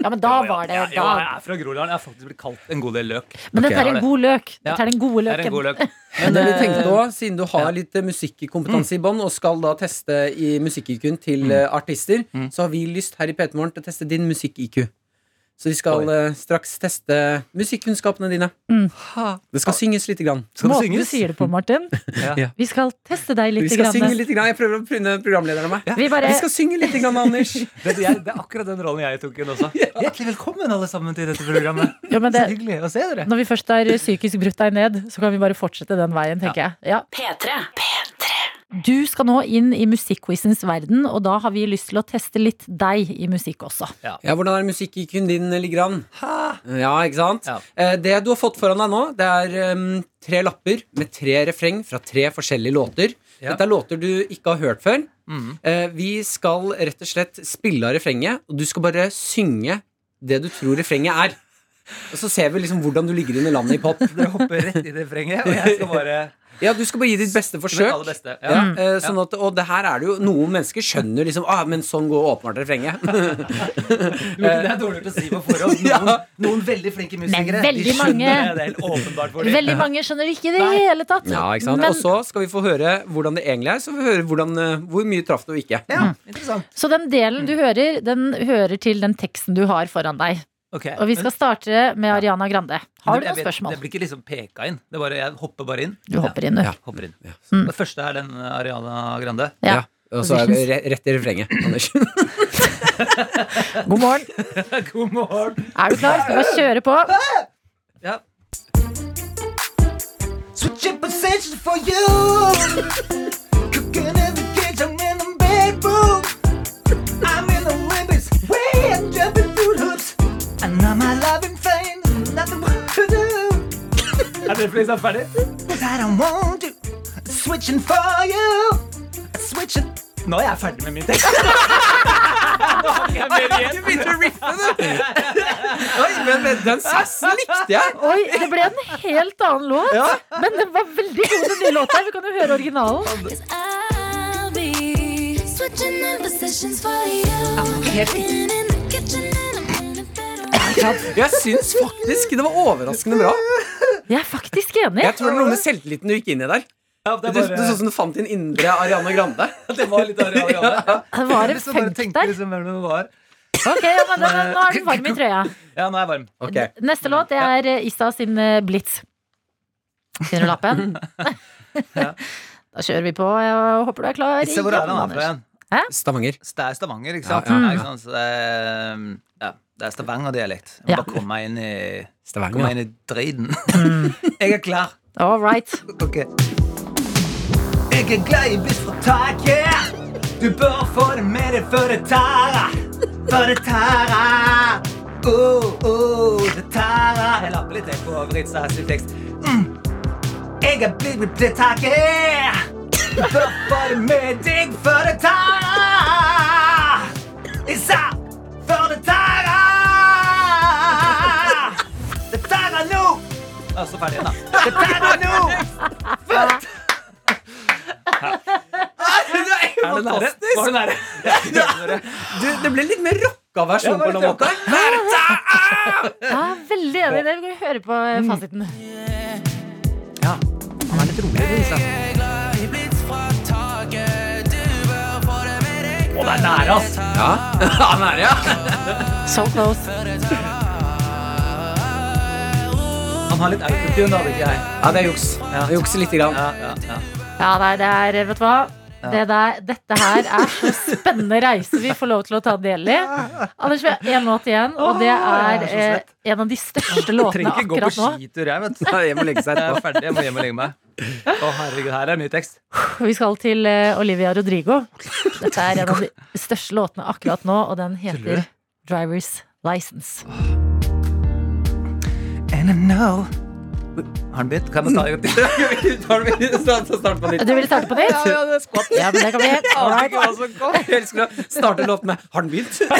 B: Ja, men da var
H: Ja,
B: det
H: ja,
B: da.
H: jeg er fra Groruddalen. Jeg har faktisk blitt kalt en god del løk.
B: Men dette
C: Ok,
B: er
H: ja,
B: en
H: det-
B: god løk.
H: Ja,
B: Dette er den gode
H: Jeg er en
B: løken.
H: god løk.
C: Men det vi tenkte også, Siden du har litt eh, musikkompetanse i bånn, og skal da teste i musikk-IQ-en til eh, artister, så har vi lyst her i p til å teste din musikk-IQ. Så vi skal
H: Oi.
C: eh, straks teste musikkunnskapene dine. Det skal synges lite grann.
H: Skal det
B: Måten du
H: synges?
B: sier det på, Martin.
H: Ja.
B: Vi skal teste deg
C: Vi
B: litt.
C: skal synge
B: Grann.
C: lite grann. Jeg prøver å prune programlederen av meg.
B: Vi bare
C: Vi skal synge litt, grann, Anders.
H: Det, det, er, det er akkurat den rollen jeg tok inn også. Hjertelig velkommen alle sammen til dette programmet.
B: ja, men
H: Så
B: det,
H: hyggelig å se dere.
B: Når vi først har psykisk brutt deg ned, så kan vi bare fortsette den veien, tenker jeg. Ja.
D: P3.
B: Du skal nå inn i musikkquizens verden, og da har vi lyst til å teste litt deg i musikk også.
C: Ja, Hvordan er musikk-IQ-en din ligger an? Ja, ikke sant?
H: Ja.
C: Eh, Det du har fått foran deg nå, det er em, tre lapper med tre refreng fra tre forskjellige låter.
H: Ja. Mm.
C: Dette er låter du ikke har hørt før. Eh, Vi skal rett og slett spille av refrenget, og du skal bare synge det du tror refrenget er. Og så ser vi liksom hvordan du ligger inn i landet i pop.
H: Dere hopper rett i refrenget, og jeg skal bare
C: Ja, Du skal bare gi ditt beste
H: Mitt
C: forsøk.
H: aller beste.
C: Ja,
H: Ja.
C: eh, sånn at, og det her er det jo Noen mennesker skjønner liksom ah, men sånn går åpenbart refrenget.
H: Du, Det er dårlig å si på forhånd. Noen, noen veldig flinke musikere
B: Men veldig
H: de skjønner
B: mange-
H: det. Det er helt åpenbart for dem.
B: Veldig mange skjønner det ikke i det
H: Nei.
B: hele tatt.
C: Ja, ikke sant?
B: Men,
C: og så skal vi få høre hvordan det egentlig er. Så får vi høre hvordan, eh, hvor mye traff det og ikke.
H: Ja, interessant.
B: så den delen du hører, den hører til den teksten du har foran deg.
H: Ok.
B: Og vi skal starte med Ariana Grande. Har du
H: Jeg
B: noen
H: vet-
B: spørsmål?
H: Det blir ikke liksom peka inn. Det er bare, jeg hopper bare inn.
B: Du hopper inn, du.
H: Ja, hopper inn.
C: Ja.
B: Mm.
H: Det første er den eh, Ariana Grande.
B: Ja.
C: Og så er vi re- rett i refrenget. Anders.
B: God morgen.
H: God morgen.
B: Er du klar? Skal vi bare kjøre på?
H: Ja. Switching positions for you. Cooking in the kitchen in the bedroom. I'm in the ribbons, way up jumping through hoops. And I'm a loving thing, nothing more to do. Er det flere som er ferdig? But I don't want to. Switching for you. Switching Nå er jeg ferdig med min tekst.
C: Du begynte å riffe, du! Oi, men den sassen likte jeg!
B: Oi, det ble en helt annen låt. Men den var veldig god, den nye låta. Vi kan jo høre originalen.
C: Jeg syns faktisk det var overraskende bra.
B: Jeg er faktisk enig.
C: Jeg tror det var noe med selvtilliten du gikk inn i der. Du, du så ut som du fant din indre Ariana Grande.
H: Det var litt av det.
B: Det var en
H: Liksom bare
B: funk
H: tenkte
B: der.
H: liksom hvem det var.
B: Ok, ja, men den, Nå er den varm i trøya.
H: Ja, nå er jeg varm.
C: Ok,
B: Neste låt det er eh, Ista sin eh, Blitz. Finner du lappen? Da kjører vi på. Jeg håper du er klar.
H: Se hvor er
B: igjen,
H: han er fra
B: Anders.
H: igjen.
C: Stavanger.
H: Det er Stavanger, ikke sant?
C: Ja, ja, ja.
H: Ja, ikke sant? Så det er, um, ja, det er Stavanger-dialekt. Jeg må
B: Ja.
H: bare komme meg inn i, komme meg
C: Stavanger.
H: inn i drøyden.
B: Mm.
H: Jeg er klar.
B: All right.
H: Ok. Jeg er glad i biff fra taket. Du bør få det med deg før det tærer. Før det tærer. Oh, oh, det tærer. Jeg lapper litt jeg, på Brits asyltekst. Mm. Jeg er blitt med det taket. Du bør få det med deg før det tærer. Jeg sa før det tærer. Det tærer nå. Og så ferdig igjen, da. Det tærer nå.
C: Er det nære? Var det nære? Du, det ble litt mer rocka versjon på en eller annen måte.
B: Jeg er veldig enig i det. Vi kan høre på eh,
H: Mm.
B: fasiten.
C: Han er litt rolig, liksom.
H: Og det er nære, ass.
C: Ja, han er det, ja.
B: So close.
H: Han har litt autotune, hadde ikke jeg.
C: Ja, det er juks. Det er Juks lite grann.
H: Ja, ja, ja.
B: Ja, nei, det er eh, Vet du hva? Det der, dette her er så spennende reise vi får lov til å ta del i. Anders, vi har én låt igjen, og det er
H: jeg
B: eh,
H: er så
B: en av de største låtene
H: Trenger ikke gå på
B: akkurat nå.
H: skitur, jeg, vet du.
C: Ja, Jeg må legge seg
H: Jeg er
C: etterpå.
H: ferdig, jeg må hjem og legge meg. Å, herregud, her er ny tekst.
B: Vi skal til eh, Olivia Rodrigo. Dette er en av de største låtene akkurat nå, og den heter Drivers License.
H: And I know Har den begynt? Kan jeg starte
C: Tar du min start- start på nytt?
B: Du ville starte på nytt?
C: Ja, det er skvatt.
B: Ja, men det kan vi. All
C: Aner
B: right.
C: ikke hva som kom. Jeg elsker å starte låten med Har den begynt?
H: Ok,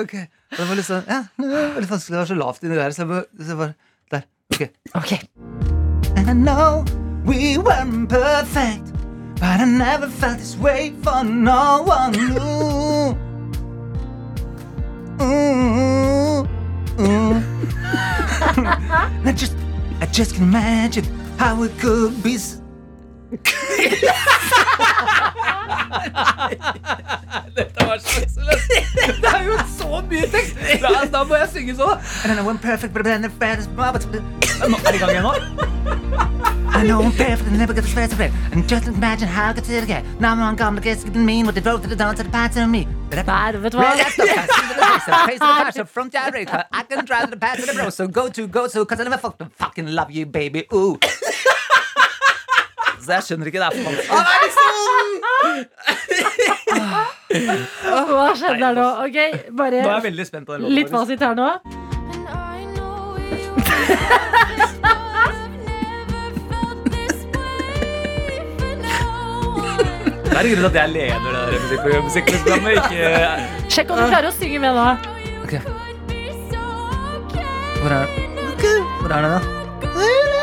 H: ok. Og Det var litt sånn, ja, det var veldig vanskelig, det var så lavt inni der, så jeg bare, så jeg bare Der. Ok.
B: Ok.
H: And I know we weren't perfect, but I never felt this way for no one. Ooh. Ooh. Ooh. I Mm. just, I just can imagine how it could be. s- And I know I'm perfect, but I'm never felt this way, but- Er det i gang igjen nå? I know I'm perfect and never get the stress of it. And just imagine how I could sit again. Now I'm on gum, the kids didn't mean what they wrote to the dance and the parts of me. But I-
B: Nei, vet du hva?
H: That's the past and the past, the past and the past, so from January, I can drive the past and the bro, so go to, go to, cause I never fucking, fucking love you, baby, ooh. Så jeg skjønner ikke det er for vanskelig.
B: Hva skjedde der nå? Ok, bare
H: veldig spent på
B: litt fasit her nå.
H: Det er grunnen til at jeg leder det musikkprogrammet, ikke...
B: Sjekk om du klarer å synge med nå.
H: Hvor er, hvor er det da?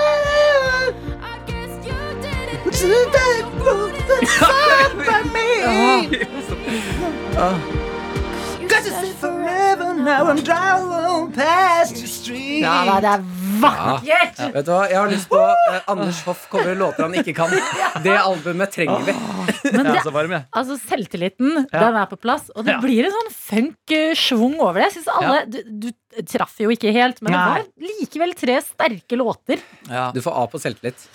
B: Ja, nei, det er vakkert!
C: Vet du hva, Jeg har lyst på eh, Anders Hoff cover låter han ikke kan. Det albumet trenger vi.
B: Men det,
H: så varm, jeg.
B: altså, selvtilliten den er på plass, og det blir en sånn funk-schwung over det. Jeg synes alle, du, du traff jo ikke helt, men det
H: Nei.
B: var likevel tre sterke låter.
H: Ja.
C: Du får A på selvtillit.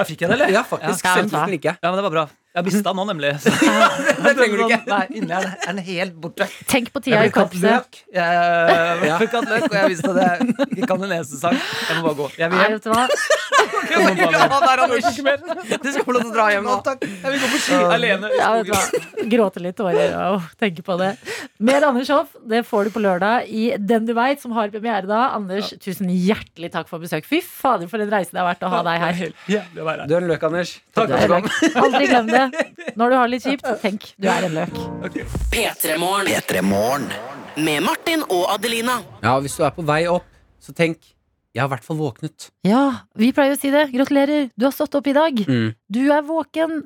H: Da fikk jeg det, eller?
C: Ja, faktisk.
B: Ja,
C: Selvtilliten liker jeg.
H: Ja, men det var bra. Jeg mista nå, nemlig. Så-
C: Det sånn- trenger du ikke.
H: sånn? Nei, inni her er den helt borte.
B: Tenk på tida i korpset.
H: Jeg fikk hatt løk, og jeg visste at jeg ikke kan en eneste sang. Jeg må bare gå. Jeg vil
B: Nei,
H: hjem.
B: vet du hva?
H: Jeg må bare hjem.
C: Du skal få lov til å dra hjem nå.
H: Jeg vil gå på ski alene.
B: Ja, vet du hva? Gråte litt tårer og tenke på det. Mer Anders Hoff det får du på lørdag i Den du veit, som har premiere da. Anders, tusen hjertelig takk for besøk. Fy fader, for en reise det har vært å ha deg her.
H: Helt jævlig å være her.
C: Du er en løk, Anders. Takk for at du kom.
B: Aldri glem det. det. Når du har det litt kjipt, tenk du er en løk.
D: P3-morgen. Med Martin og Adelina.
C: Ja, hvis du er på vei opp, så tenk Jeg har i hvert fall våknet.
B: Ja, vi pleier å si det. Gratulerer, du har stått opp i dag.
C: Mm.
B: Du er våken.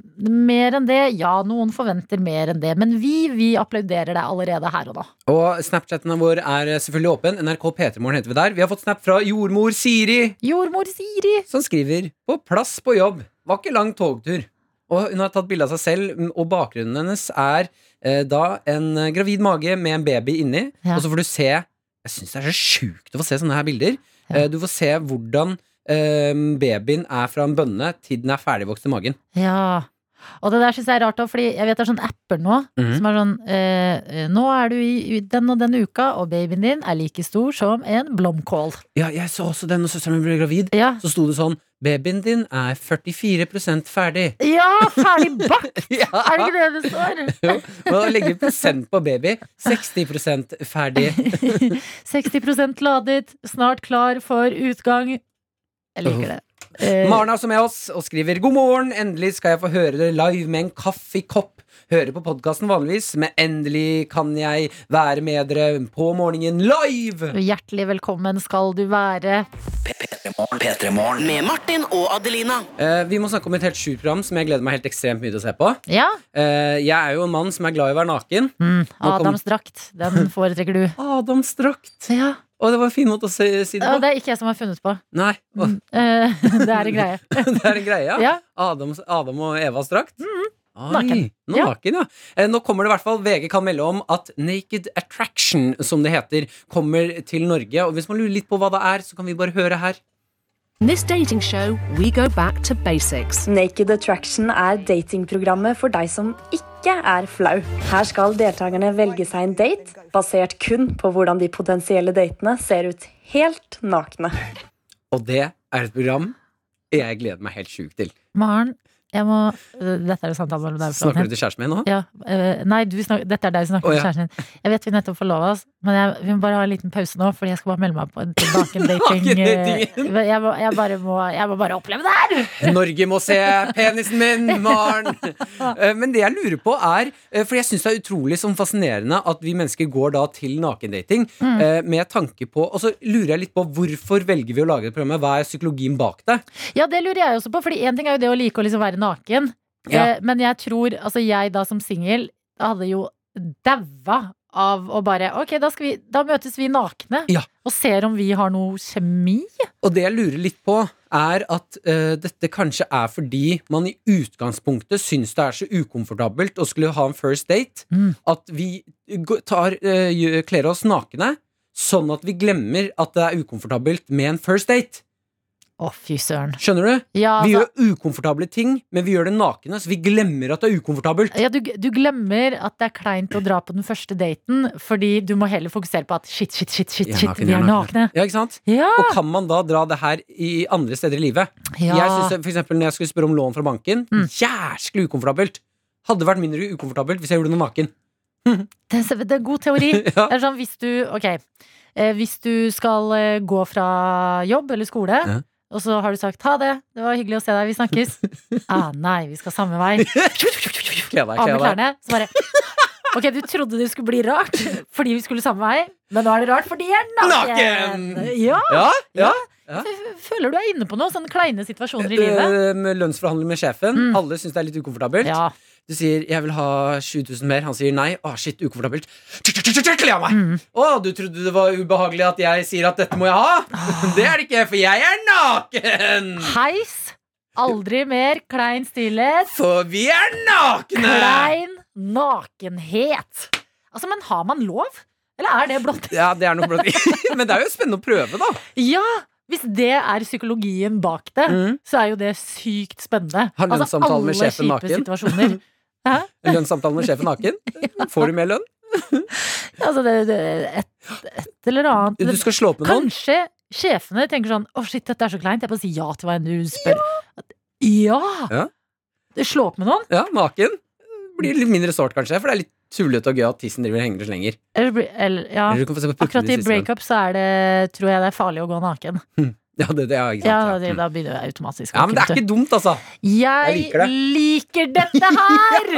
B: Mer enn det. Ja, noen forventer mer enn det. Men vi, vi applauderer deg allerede her og da.
C: Og Snapchatten vår er eh, selvfølgelig åpen. NRK P3morgen heter vi der. Vi har fått snap fra jordmor Siri,
B: Jordmor Siri.
C: som skriver På plass på jobb. Var ikke lang togtur. Og hun har tatt bilde av seg selv, og bakgrunnen hennes er eh, da en gravid mage med en baby inni.
B: Ja.
C: Og så får du se Jeg syns det er så sjukt å få se sånne her bilder.
B: Ja.
C: Eh, du får se hvordan eh, babyen er fra en bønne til den er ferdigvokst i magen.
B: Ja. Og det der syns jeg er rart, da, fordi jeg vet det er sånne apper nå
C: Mhm.
B: som er sånn eh, Nå er du i i den og den uka, og babyen din er like stor som en blomkål.
C: Ja, jeg så også det når søsteren min ble gravid.
B: Ja,
C: Så sto det sånn Babyen din er 44 ferdig.
B: ja ferdig bakt!
C: Ja.
B: Er det ikke det det står?
C: Jo, og da legger vi prosent på baby. 60 ferdig.
B: 60 ladet, snart klar for utgang. Jeg liker det. Eh,
C: Maren er også med oss og skriver god morgen. Endelig skal jeg få høre dere live med en kaffekopp. Hører på podkasten vanligvis, men endelig kan jeg være med dere på morgenen live!
B: Eh, hjertelig velkommen skal du være.
D: Med Martin og Adelina.
C: Eh, vi må snakke om et helt sjukt program som jeg gleder meg helt ekstremt mye til å se på.
B: Ja,
C: Eh, jeg er jo en mann som er glad i å være naken.
B: mm,
C: kom-
B: Adams drakt, den foretrekker du.
C: Adams drakt.
B: Ja,
C: Å, det var en fin måte å si si det
B: Ja,
C: på.
B: Det er ikke jeg som har funnet på.
C: Nei, å,
B: Eh, det er en greie.
C: det er en greie.
B: Ja. Mm-hmm.
C: Adams, Adam og Evas drakt? Oi,
B: Naken.
C: Nå,
B: Ja.
C: naken, ja. Eh, nå kommer det i hvert fall VG kan melde om at Naked Attraction, som det heter, kommer til Norge. Og hvis man lurer litt på hva det er, så kan vi bare høre her.
I: In this dating show, we go back to basics.
J: Naked Attraction er datingprogrammet for deg som ikke er flau. Her skal deltakerne velge seg en date basert kun på hvordan de potensielle datene ser ut helt nakne.
C: Og det er et program jeg gleder meg helt sjukt til.
B: Maren, jeg må Dette er jo samtalen mellom deg og
C: Snakker
B: Flaten.
C: du til kjæresten min nå?
B: Ja, eh, nei, du snak, dette er deg som snakker
C: Å,
B: med
C: ja.
B: kjæresten din. Jeg vet vi nettopp forlova oss, men jeg, vi må bare ha en liten pause nå, fordi jeg skal bare melde meg på en nakendating. eh,
C: Nakendatingen.
B: jeg, må- jeg, bare må- jeg må bare oppleve det her!
C: Norge må se penisen min, Maren! Eh, Men det jeg lurer på er eh, For jeg syns det er utrolig sånn fascinerende at vi mennesker går da til nakendating eh, med tanke på Og så lurer jeg litt på hvorfor velger vi å lage det programmet? Hva er psykologien bak det?
B: Ja, det lurer jeg også på, fordi én ting er jo det å like å liksom være naken,
C: Ja.
B: eh, men jeg tror Altså, jeg da som singel hadde jo daua av å bare Ok, da, skal vi, da møtes vi nakne
C: Ja.
B: og ser om vi har noe kjemi.
C: Og det jeg lurer litt på, er at eh, dette kanskje er fordi man i utgangspunktet syns det er så ukomfortabelt å skulle ha en first date,
B: Mm.
C: at vi gå- tar, eh, gjø- kler oss nakne, sånn at vi glemmer at det er ukomfortabelt med en first date.
B: Å, fy søren.
C: Skjønner du?
B: Ja,
C: Vi
B: altså-
C: gjør ukomfortable ting, men vi gjør det nakne, så vi glemmer at det er ukomfortabelt.
B: Ja, du, du glemmer at det er kleint å dra på den første daten, fordi du må heller fokusere på at shit, shit, shit, shit,
C: Jeg er
B: shit
C: naken,
B: vi
C: jeg
B: er
C: er
B: nakne.
C: Ja, ikke sant?
B: Ja!
C: Og kan man da dra det her i andre steder i livet?
B: ja.
C: Jeg synes, for eksempel når jeg skulle spørre om lån fra banken,
B: Mm.
C: jæsklig ukomfortabelt. Hadde vært mindre ukomfortabelt hvis jeg gjorde noe naken.
B: det, er- det er god teori.
C: Ja.
B: Det er sånn hvis du, ok, eh, hvis du skal eh, gå fra jobb eller skole,
C: Ja.
B: og så har du sagt ha det, det var hyggelig å se deg, vi snakkes. ah, nei, vi skal samme vei.
C: Kle deg,
B: Av med
C: kle deg.
B: klærne, så bare Ok, du trodde det skulle bli rart fordi vi skulle samme vei, men nå er det rart fordi jeg er naken!
C: Naken!
B: Ja!
C: Ja, ja. Ja.
B: F- Føler du er inne på noe? Sånne kleine situasjoner i livet?
C: Eh, med Lønnsforhandling med sjefen.
B: Mm.
C: Alle syns det er litt ukomfortabelt.
B: Ja.
C: Du sier 'jeg vil ha 7000 mer', han sier nei. Å, shit, ukomfortabelt. Kle av meg! Å, du trodde det var ubehagelig at jeg sier at dette må jeg ha? Det er det ikke, for jeg er naken!
B: Heis. Aldri mer klein stillhet.
C: For vi er nakne!
B: Klein nakenhet. Altså, men har man lov? Eller er det blått?
C: Ja, det er noe blått. Men det er jo spennende å prøve, da.
B: Ja! Hvis det er psykologien bak det,
C: Mm.
B: så er jo det sykt spennende. Altså,
C: Har lønnssamtale
B: alle
C: med sjefen
B: kjipe
C: naken.
B: situasjoner. Hæ?
C: Lønnssamtale med sjefen naken. Får du mer lønn?
B: Altså, det, det, et, et eller annet.
C: Du skal slå opp med noen.
B: Kanskje sjefene tenker sånn Å shit, dette er så kleint, jeg bare sier ja til hva enn du spør Ja!
C: Ja.
B: Slå opp med noen
C: Ja, naken. Blir litt mindre sårt, kanskje, for det er litt tullete og gøy at tissen driver og henger og slenger.
B: eller, bli- eller, ja.
C: Eller du kan få se på puttene
B: Akkurat i
C: siste gang.
B: breakup så er det Tror jeg det er farlig å gå naken
C: Hmm. Ja, det, det, ja, ikke sant?
B: Ja, det, da begynner jeg automatisk. å
C: Ja, men det er
B: kutte.
C: ikke dumt, altså.
B: Jeg,
C: Jeg liker det.
B: liker, dette her!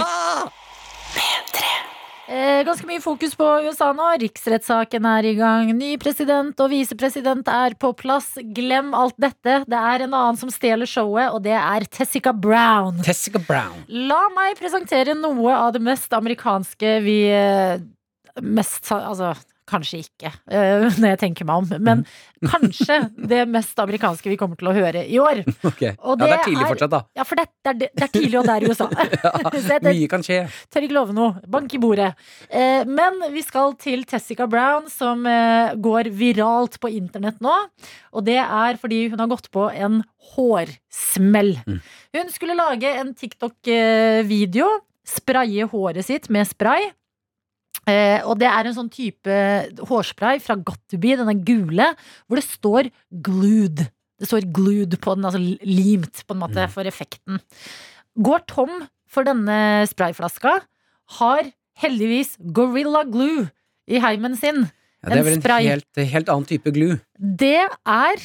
B: Eh, ganske mye fokus på USA nå. Riksrettssaken er i gang. Ny president og visepresident er på plass. Glem alt dette. Det er en annen som stjeler showet, og det er Tessica Brown.
C: Tessica Brown.
B: La meg presentere noe av det mest amerikanske vi eh, mest Altså, kanskje ikke, eh, når jeg tenker meg om, men
C: Mhm.
B: kanskje det mest amerikanske vi kommer til å høre i år.
C: Ok.
B: Og
C: ja, det
B: det
C: er tidlig
B: er-
C: fortsatt, da.
B: Ja, for det, det, er, det er tidlig, og det er i USA. Så jeg- det-
C: Mye kan skje.
B: Tør ikke love noe. Bank i bordet. Eh, men vi skal til Tessica Brown, som eh, går viralt på internett nå. Og det er fordi hun har gått på en hårsmell. Hun skulle lage en TikTok-video. Spraye håret sitt med spray. Eh, og det er en sånn type hårspray fra Gotteby, denne gule, hvor det står 'glued'. Det står 'glued' på den, altså limt, på en måte, for effekten går tom for denne sprayflaska, har heldigvis Gorilla Glue i heimen sin.
C: Ja, det
B: En
C: er vel en
B: spray.
C: helt, helt annen type glue.
B: Det er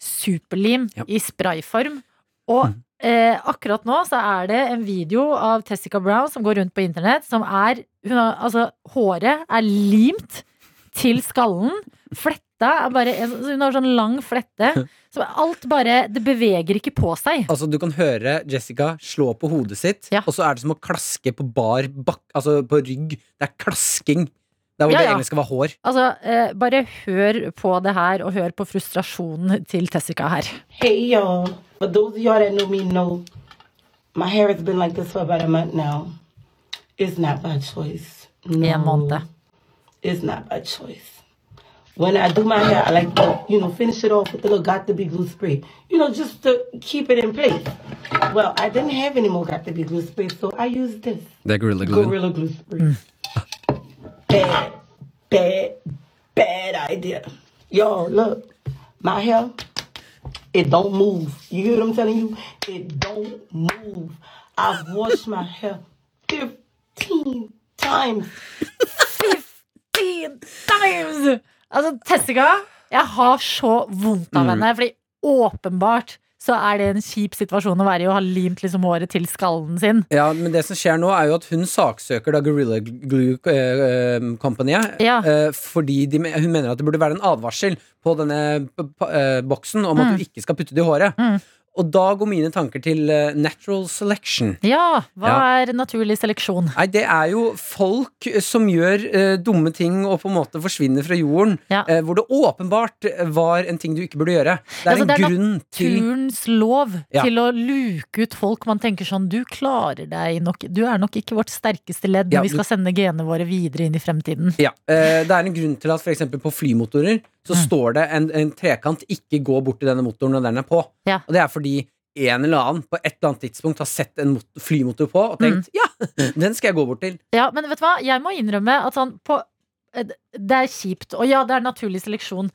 B: superlim
C: Ja.
B: i sprayform. Og eh, akkurat nå så er det en video av Tessica Brown som går rundt på internett, som er hun har, Altså, håret er limt til skallen. Fletta er bare en- Hun har sånn lang flette. Så alt bare Det beveger ikke på seg.
C: Altså, du kan høre Jessica slå på hodet sitt,
B: Ja.
C: og så er det som å klaske på bar bak, altså på rygg. Det er klasking. Det er hvor
B: Ja,
C: det
B: ja.
C: egentlig skal være hår.
B: Altså, eh, bare hør på det her, og hør på frustrasjonen til Tessica her.
K: Hey y'all. For those of y'all that know me know my hair has been like this for about a month now. It's not by choice. No.
B: En måned.
K: It's not by choice. When I do my hair, I like to, you know, finish it off with a little got to be glue spray. You know, just to keep it in place. Well, I didn't have any more got to be glue spray, so I used this.
C: Det er gorilla
K: Gorilla glue spray. Bad, bad, bad idea. Yo, look, my hair, it don't move. You hear what I'm telling you? It don't move. I've washed my hair 15 times.
B: 15 times! Altså, Tessica, jeg har så vondt av
K: Mm.
B: henne, fordi åpenbart så er det en kjip situasjon å være i, å ha limt liksom håret til skallen sin.
C: Ja, men det som skjer nå, er jo at hun saksøker da Gorilla Glue eh, eh, Company
B: Ja.
C: eh, fordi de, me- hun mener at det burde være en advarsel på denne p- p- eh, boksen om at
B: Mm.
C: du ikke skal putte det i håret.
B: Mm.
C: Og da går mine tanker til eh, natural selection.
B: Ja, hva
C: Ja.
B: er naturlig seleksjon?
C: Nei, det er jo folk som gjør eh, dumme ting og på en måte forsvinner fra jorden. eh, hvor det åpenbart var en ting du ikke burde gjøre. Det er
B: Altså,
C: en grunn til
B: naturens lov
C: Ja.
B: til å luke ut folk man tenker sånn Du klarer deg nok Du er nok ikke vårt sterkeste ledd når
C: Ja,
B: vi
C: du-
B: skal sende genene våre videre inn i fremtiden.
C: ja, eh, Det er en grunn til at for eksempel på flymotorer så står det en, en trekant 'ikke gå bort til denne motoren når den er på'.
B: Ja.
C: Og det er fordi en eller annen på et eller annet tidspunkt har sett en mot flymotor på og tenkt 'ja, den skal jeg gå bort til'.
B: Ja, men vet du hva? Jeg må innrømme at sånn på eh, Det er kjipt. Og ja, det er naturlig seleksjon.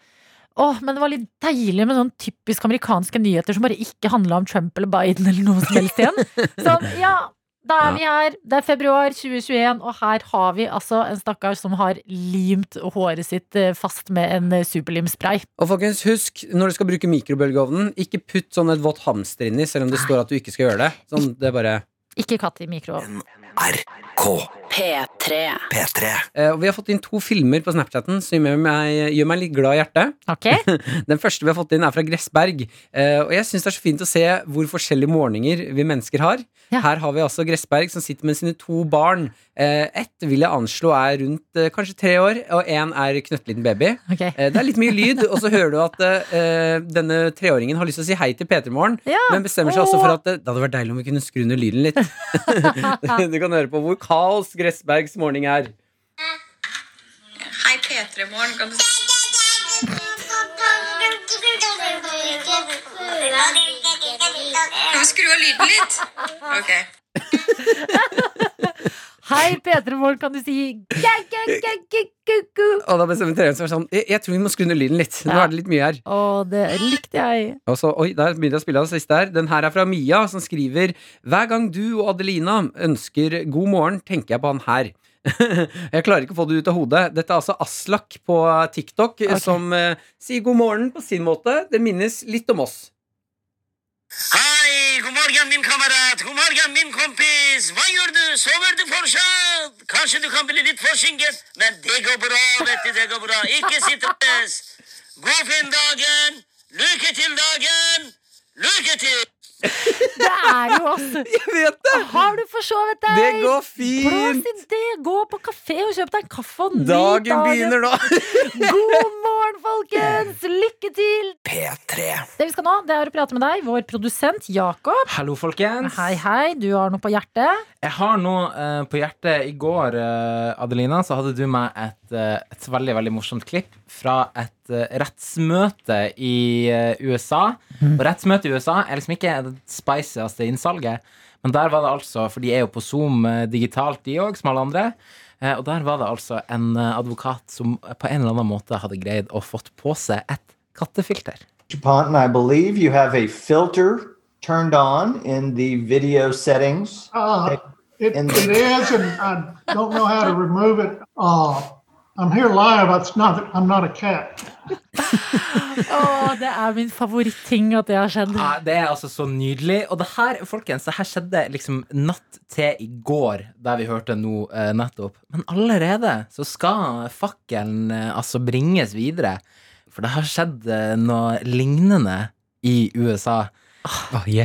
B: Åh, men det var litt deilig med sånn typisk amerikanske nyheter som bare ikke handla om Trump eller Biden eller noe som helst igjen. Sånn, ja, da er vi her. Det er februar 2021, og her har vi altså en stakkar som har limt håret sitt eh, fast med en eh, superlimspray.
C: Og folkens, husk når du skal bruke mikrobølgeovnen, ikke putt sånn et vått hamster inni, selv om det står at du ikke skal gjøre det. Sånn, det er bare
B: Ikke katt i mikroovn.
C: K.
D: P3.
C: P3. Eh, og vi har fått inn to filmer på Snapchatten som gjør meg, gjør meg litt glad i hjertet. Den første vi har fått inn, er fra Gressberg. Eh, og jeg syns det er så fint å se hvor forskjellige morgener vi mennesker har. Her har vi altså Gressberg som sitter med sine to barn. Uh, ett vil jeg anslå er rundt eh, kanskje tre år, og én er knøttliten baby.
B: Ok.
C: Eh, det er litt mye lyd, og så hører du at eh, denne treåringen har lyst til å si hei til P3 Morgen,
B: Ja.
C: men bestemmer seg også
B: Åh.
C: for at eh, det hadde vært deilig om vi kunne skru ned lyden litt. du kan høre på hvor kaos Gressbergs morgen er.
L: Hei, P3-morgen. Kan du Kan vi skru av lyden litt? Ok.
B: Hei, P3 Morgen, kan du si gæ, gæ, gæ, gæ, gæ, gæ?
C: Og da bestemmer treåringen seg for sånn jeg, jeg tror vi må skru ned lyden litt. Nå er det litt mye her.
B: Å, det likte jeg.
C: Og så, oi, der begynte jeg å spille av det siste her. Den her er fra Mia, som skriver Hver gang du og Adelina ønsker god morgen, tenker jeg på han her. Jeg klarer ikke å få det ut av hodet. Dette er altså Aslak på TikTok eh, som eh, sier god morgen på sin måte. Det minnes litt om oss.
M: Hei, god morgen, min kamerat. God morgen, min kompis. Hva gjør du? Sover du fortsatt? Kanskje du kan bli litt forsinket, men det går bra, vet du. Det går bra. Ikke sitt press. God fin dagen. Lykke til dagen. Lykke til.
B: Det er jo oss!
C: Jeg vet det!
B: Har du forsovet deg?
C: Det går fint.
B: Blås i det! Gå på kafé og kjøp deg en kaffe og nyt
C: Dagen begynner nå.
B: God morgen, folkens! Lykke til!
F: P3.
B: Det vi skal nå, det er å prate med deg, vår produsent Jakob.
F: Hallo, folkens.
B: Hei, hei. Du har noe på hjertet.
F: Jeg har noe eh, på hjertet. I går, eh, Adelina, så hadde du med et, eh, et veldig veldig morsomt klipp fra et eh, rettsmøte i eh, USA. Og rettsmøte i USA er liksom ikke det spicieste innsalget, men der var det altså For de er jo på Zoom eh, digitalt, de òg, som alle andre. Eh, og der var det altså en eh, advokat som på en eller annen måte hadde greid å fått på seg et kattefilter.
N: Ponton, I believe you have a filter turned on in the video settings.
O: Uh, it,
N: And-
O: it is, and I don't know how to remove it. Uh, I'm here live. It's not. I'm not a cat.
B: Å, det er min favoritting at det har skjedd.
F: Ja, det er altså så nydelig. Og det her, folkens, det her skjedde liksom natt til i går, der vi hørte nå eh, nettopp. Men allerede så skal fakkelen eh, altså bringes videre. For det har skjedd eh, noe lignende i USA. Og vi,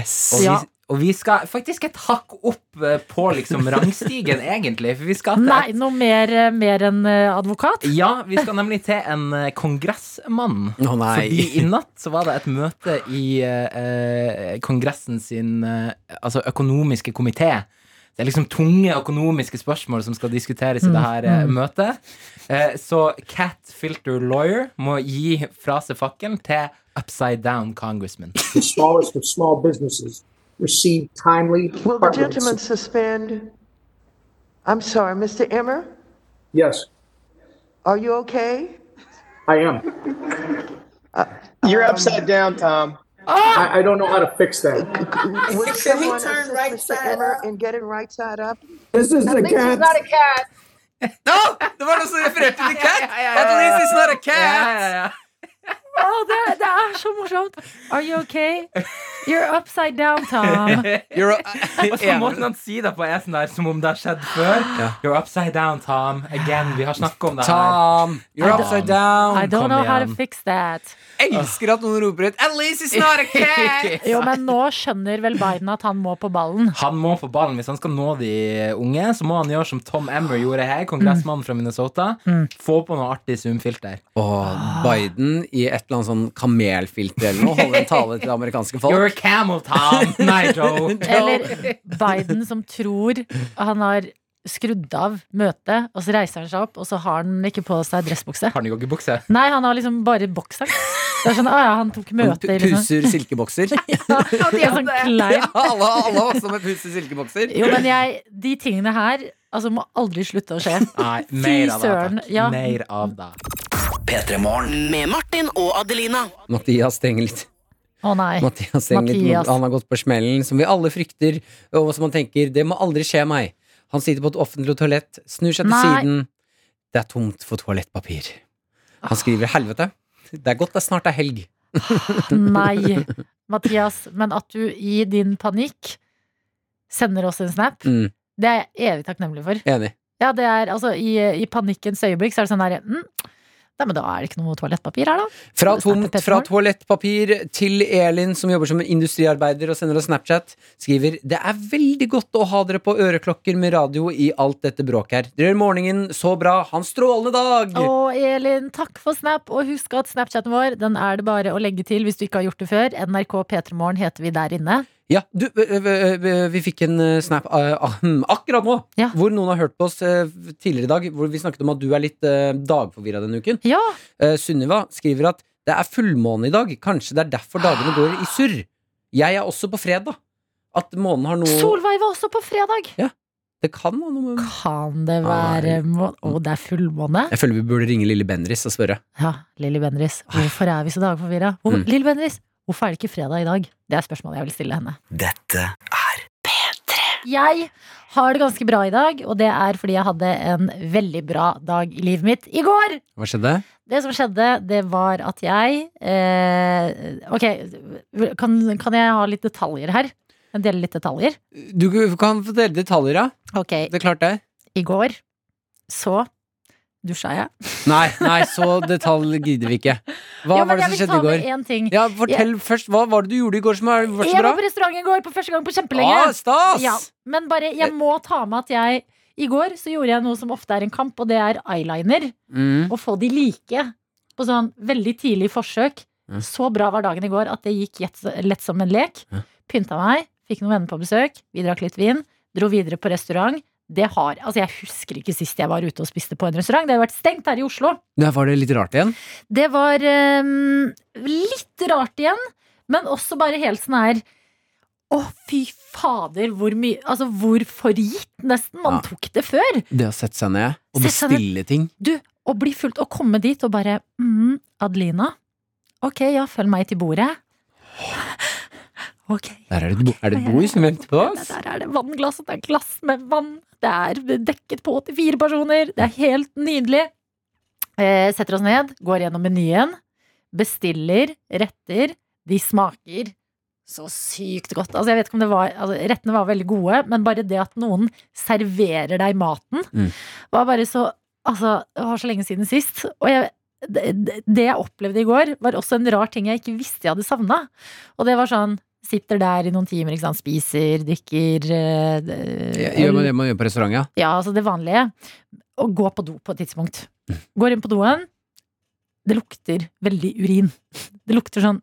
B: Ja.
F: og vi skal faktisk et hakk opp eh, på liksom rangstigen, egentlig. For vi skal til
B: Nei, noe mer, eh, mer enn eh, advokat?
F: ja, vi skal nemlig til en eh, kongressmann.
C: Å, nei.
F: Fordi i natt så var det et møte i eh, eh, kongressen sin eh, altså økonomiske komité. Det er liksom tunge økonomiske spørsmål som skal diskuteres i det her eh,
P: Mm.
F: møtet. Eh, så Cat Filter Lawyer må gi fra seg fakkelen til Upside Down Congressman.
Q: the smallest of small businesses receive timely.
R: Will the
Q: department
R: gentleman
Q: assistance.
R: suspend? I'm sorry, Mr. Emmer,
Q: Yes,
R: are you okay?
Q: I am. Uh, You're upside down, Tom. I, I don't know how to fix that.
R: Would
S: Can we
R: someone
S: turn
R: assist
S: right
R: Mr.
S: side
R: Emmer in getting right side up?
Q: This is
S: At the least it's cat. not a
R: cat.
C: Det var noe som refererte til cat!
B: ja.
C: At sånn least it's not a
F: Ja, ja,
C: cat!
B: Å, det, det er så morsomt! Are you okay? You're upside down, Tom.
F: Og så måten han si det på er sånn der som om det har skjedd før. You're upside down, Tom. Again, vi har snakket om det her.
C: Tom, you're
F: Tom.
C: upside down.
B: I don't
F: Kom
B: know how to
F: igjen.
B: fix that.
C: Elsker at noen roper ut 'At least it's not a cat'!
B: Jo, men nå skjønner vel Biden at han må på ballen.
F: Han må på ballen. Hvis han skal nå de unge, så må han gjøre som Tom Emmer gjorde her.
B: Mm.
F: Kongressmannen fra Minnesota. Få på noe artig zoomfilter.
C: Og Biden i et eller annet sånn kamelfilter eller noe holder en tale til det amerikanske folk.
F: You're a camel, Tom! Nei, Joe.
B: Eller Biden som tror han har skrudd av møtet, og så reiser han seg opp, og så har han ikke på seg dressbukse.
F: Har han joggebukse?
B: Nei, han har liksom bare bokseren. Det er sånn, å ja, han tok
C: Han
B: møte,
C: pu-
B: liksom.
C: puser silkebokser.
B: Det er sånn klein.
C: Ja, alle, alle har også med puser silkebokser.
B: Jo, men jeg, de tingene her, altså, må aldri slutte å skje.
F: Nei, mer av det,
B: søren,
F: takk.
B: ja.
F: Mer av det.
D: Med Martin og Adelina.
C: Mathias trenger litt
B: Å nei.
C: Mathias trenger litt
B: Mathias.
C: Han har gått på smellen, som vi alle frykter, og som han tenker 'det må aldri skje meg'. Han sitter på et offentlig toalett, snur seg til
B: Nei.
C: siden. Det er tomt for toalettpapir. Han skriver 'helvete'. Det er godt det snart er helg.
B: Nei, Mathias. Men at du i din panikk sender oss en snap,
C: Mm,
B: det er jeg evig takknemlig for.
C: enig.
B: Ja, det er altså i, i panikkens øyeblikk så er det sånn her mm, Nei, men da er det ikke noe toalettpapir her, da. Skal
C: Fra
B: du snakke
C: tomt, fra
B: Petter?
C: toalettpapir til Elin, som jobber som en industriarbeider og sender oss Snapchat, skriver Det er veldig godt å ha dere på øreklokker med radio i alt dette bråket her. Dere gjør morgenen så bra. Ha en strålende dag!
B: Og Elin, takk for Snap, og husk at Snapchaten vår den er det bare å legge til hvis du ikke har gjort det før. NRK P3morgen heter vi der inne.
C: Ja, du, ø- ø- ø- vi fikk en eh, snap eh, ah, hmm, akkurat nå, hvor noen har hørt på oss eh, tidligere i dag, hvor vi snakket om at du er litt eh, dagforvirra denne uken.
B: Ja.
C: Sunniva skriver at det er fullmåne i dag, kanskje det er derfor dagene går i surr. Jeg er også på fredag. At månen har noe
B: Solveig var også på fredag!
C: Det kan ha noe med
B: Kan det være må Å, det er fullmåne?
C: Jeg føler vi burde ringe lille Bendris og spørre.
B: Ja, Lilly Bendriss, hvorfor er vi så dagforvirra? Hvor,
C: Mm.
B: Lilly Bendriss, hvorfor er det ikke fredag i dag? Det er spørsmålet jeg vil stille henne.
C: Dette
B: Jeg har det ganske bra i dag, og det er fordi jeg hadde en veldig bra dag i livet mitt i går.
C: Hva skjedde?
B: Det som skjedde, det var at jeg eh, Ok, kan, kan jeg ha litt detaljer her? Kan jeg Dele litt detaljer?
C: Du kan fortelle detaljer, ja.
B: Ok,
C: Det er klart det.
B: i går så dusja jeg.
C: Nei, nei, så detalj gidder vi ikke. Hva
B: Jo, men
C: var
B: jeg
C: det som
B: vil
C: skjedde
B: ta
C: i
B: med
C: går?
B: én ting.
C: Ja, fortell først, Hva var det du gjorde i går som var var så
B: Jeg
C: bra?
B: var på restaurant i går på første gang på kjempelenge.
C: Ah, stas!
B: Ja, men bare, jeg må ta med at jeg I går så gjorde jeg noe som ofte er en kamp, og det er eyeliner.
C: Mm.
B: Å få de like på sånn veldig tidlig forsøk.
C: Mm.
B: Så bra var dagen i går at det gikk jett- lett som en lek. Pynta meg, fikk noen venner på besøk, vi drakk litt vin, dro videre på restaurant. Det har, altså Jeg husker ikke sist jeg var ute og spiste på en restaurant. Det har vært stengt her i Oslo.
C: Der var det litt rart igjen.
B: Det var ehm, litt rart igjen, men også bare helt sånn her Å, fy fader, hvor mye Altså, hvor forgitt, nesten, man
C: Ja.
B: tok det før.
C: Det å sette seg ned og
B: Sette seg ned.
C: bestille ting.
B: Du, å bli fulgt, å komme dit og bare mm, Adelina, ok, ja, følg meg til bordet. Ok,
C: Der er det, et bo- er det et bord som venter på oss.
B: der er det vannglass, og det er glass med vann. Det er dekket på til fire personer. Det er helt nydelig. Eh, setter oss ned, går gjennom menyen, bestiller retter. De smaker så sykt godt. Altså, jeg vet ikke om det var, altså, rettene var veldig gode, men bare det at noen serverer deg maten,
C: Mm.
B: var bare så Altså, det var så lenge siden sist. Og jeg, det, det jeg opplevde i går, var også en rar ting jeg ikke visste jeg hadde savna. Og det var sånn Sitter der i noen timer, ikke sant? spiser, drikker eh,
C: Ja, Gjør man det man gjør på restaurant, ja.
B: ja, altså det vanlige. Å gå på do på et tidspunkt.
C: Mm.
B: Går inn på doen. Det lukter veldig urin. Det lukter sånn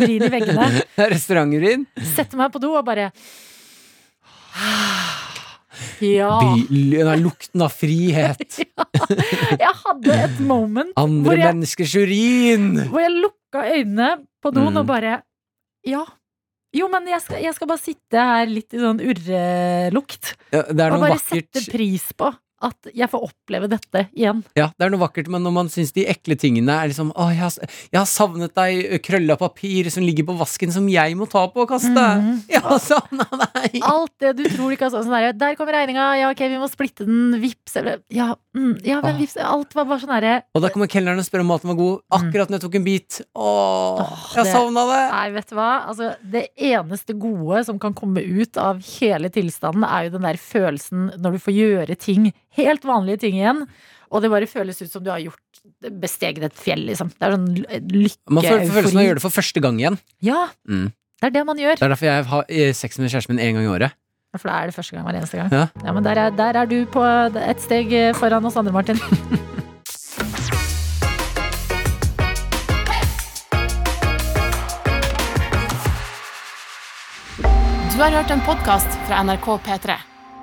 B: urin i veggene.
C: Restauranturin.
B: Setter meg på do og bare Ja.
C: By- l- nei, Lukten av frihet.
B: Jeg hadde et moment
C: Andre
B: hvor jeg,
C: menneskers urin.
B: hvor jeg lukka øynene på doen
C: Mm.
B: og bare Ja. Jo, men jeg skal, jeg skal bare sitte her litt i sånn urrelukt.
C: Ja, det er
B: Og
C: noe
B: bare
C: vakkert
B: sette pris på at jeg får oppleve dette igjen.
C: Ja, det er noe vakkert, men når man syns de ekle tingene er liksom Å, jeg har, jeg har savnet deg, krølla papir som ligger på vasken som jeg må ta på og kaste.
B: Mhm.
C: Jeg har savna deg!
B: Mm. Alt det du tror ikke altså, sånn der, der kommer regninga, ja ok, vi må splitte den, vips eller Ja, mm, ja men
C: Åh.
B: vips Alt var bare sånn herre
C: Og da kommer kelneren og spør om maten var god akkurat når jeg tok en bit. Åh, jeg
B: det-
C: savna det!
B: Nei, vet du hva? Altså, det eneste gode som kan komme ut av hele tilstanden, er jo den der følelsen når du får gjøre ting, helt vanlige ting igjen, og det bare føles ut som du har gjort besteget et fjell, liksom. Det er sånn lykke
C: Man får får følelsen av å gjøre det for første gang igjen.
B: Ja,
C: Mm.
B: det er det man gjør.
C: Det er derfor jeg har eh, sex med kjæresten min én gang i året.
B: For da er det første gang hver eneste gang.
C: Ja.
B: Ja, men der er, der er du på et steg eh, foran oss andre, Martin.
A: Du har hørt en podkast fra NRK P3.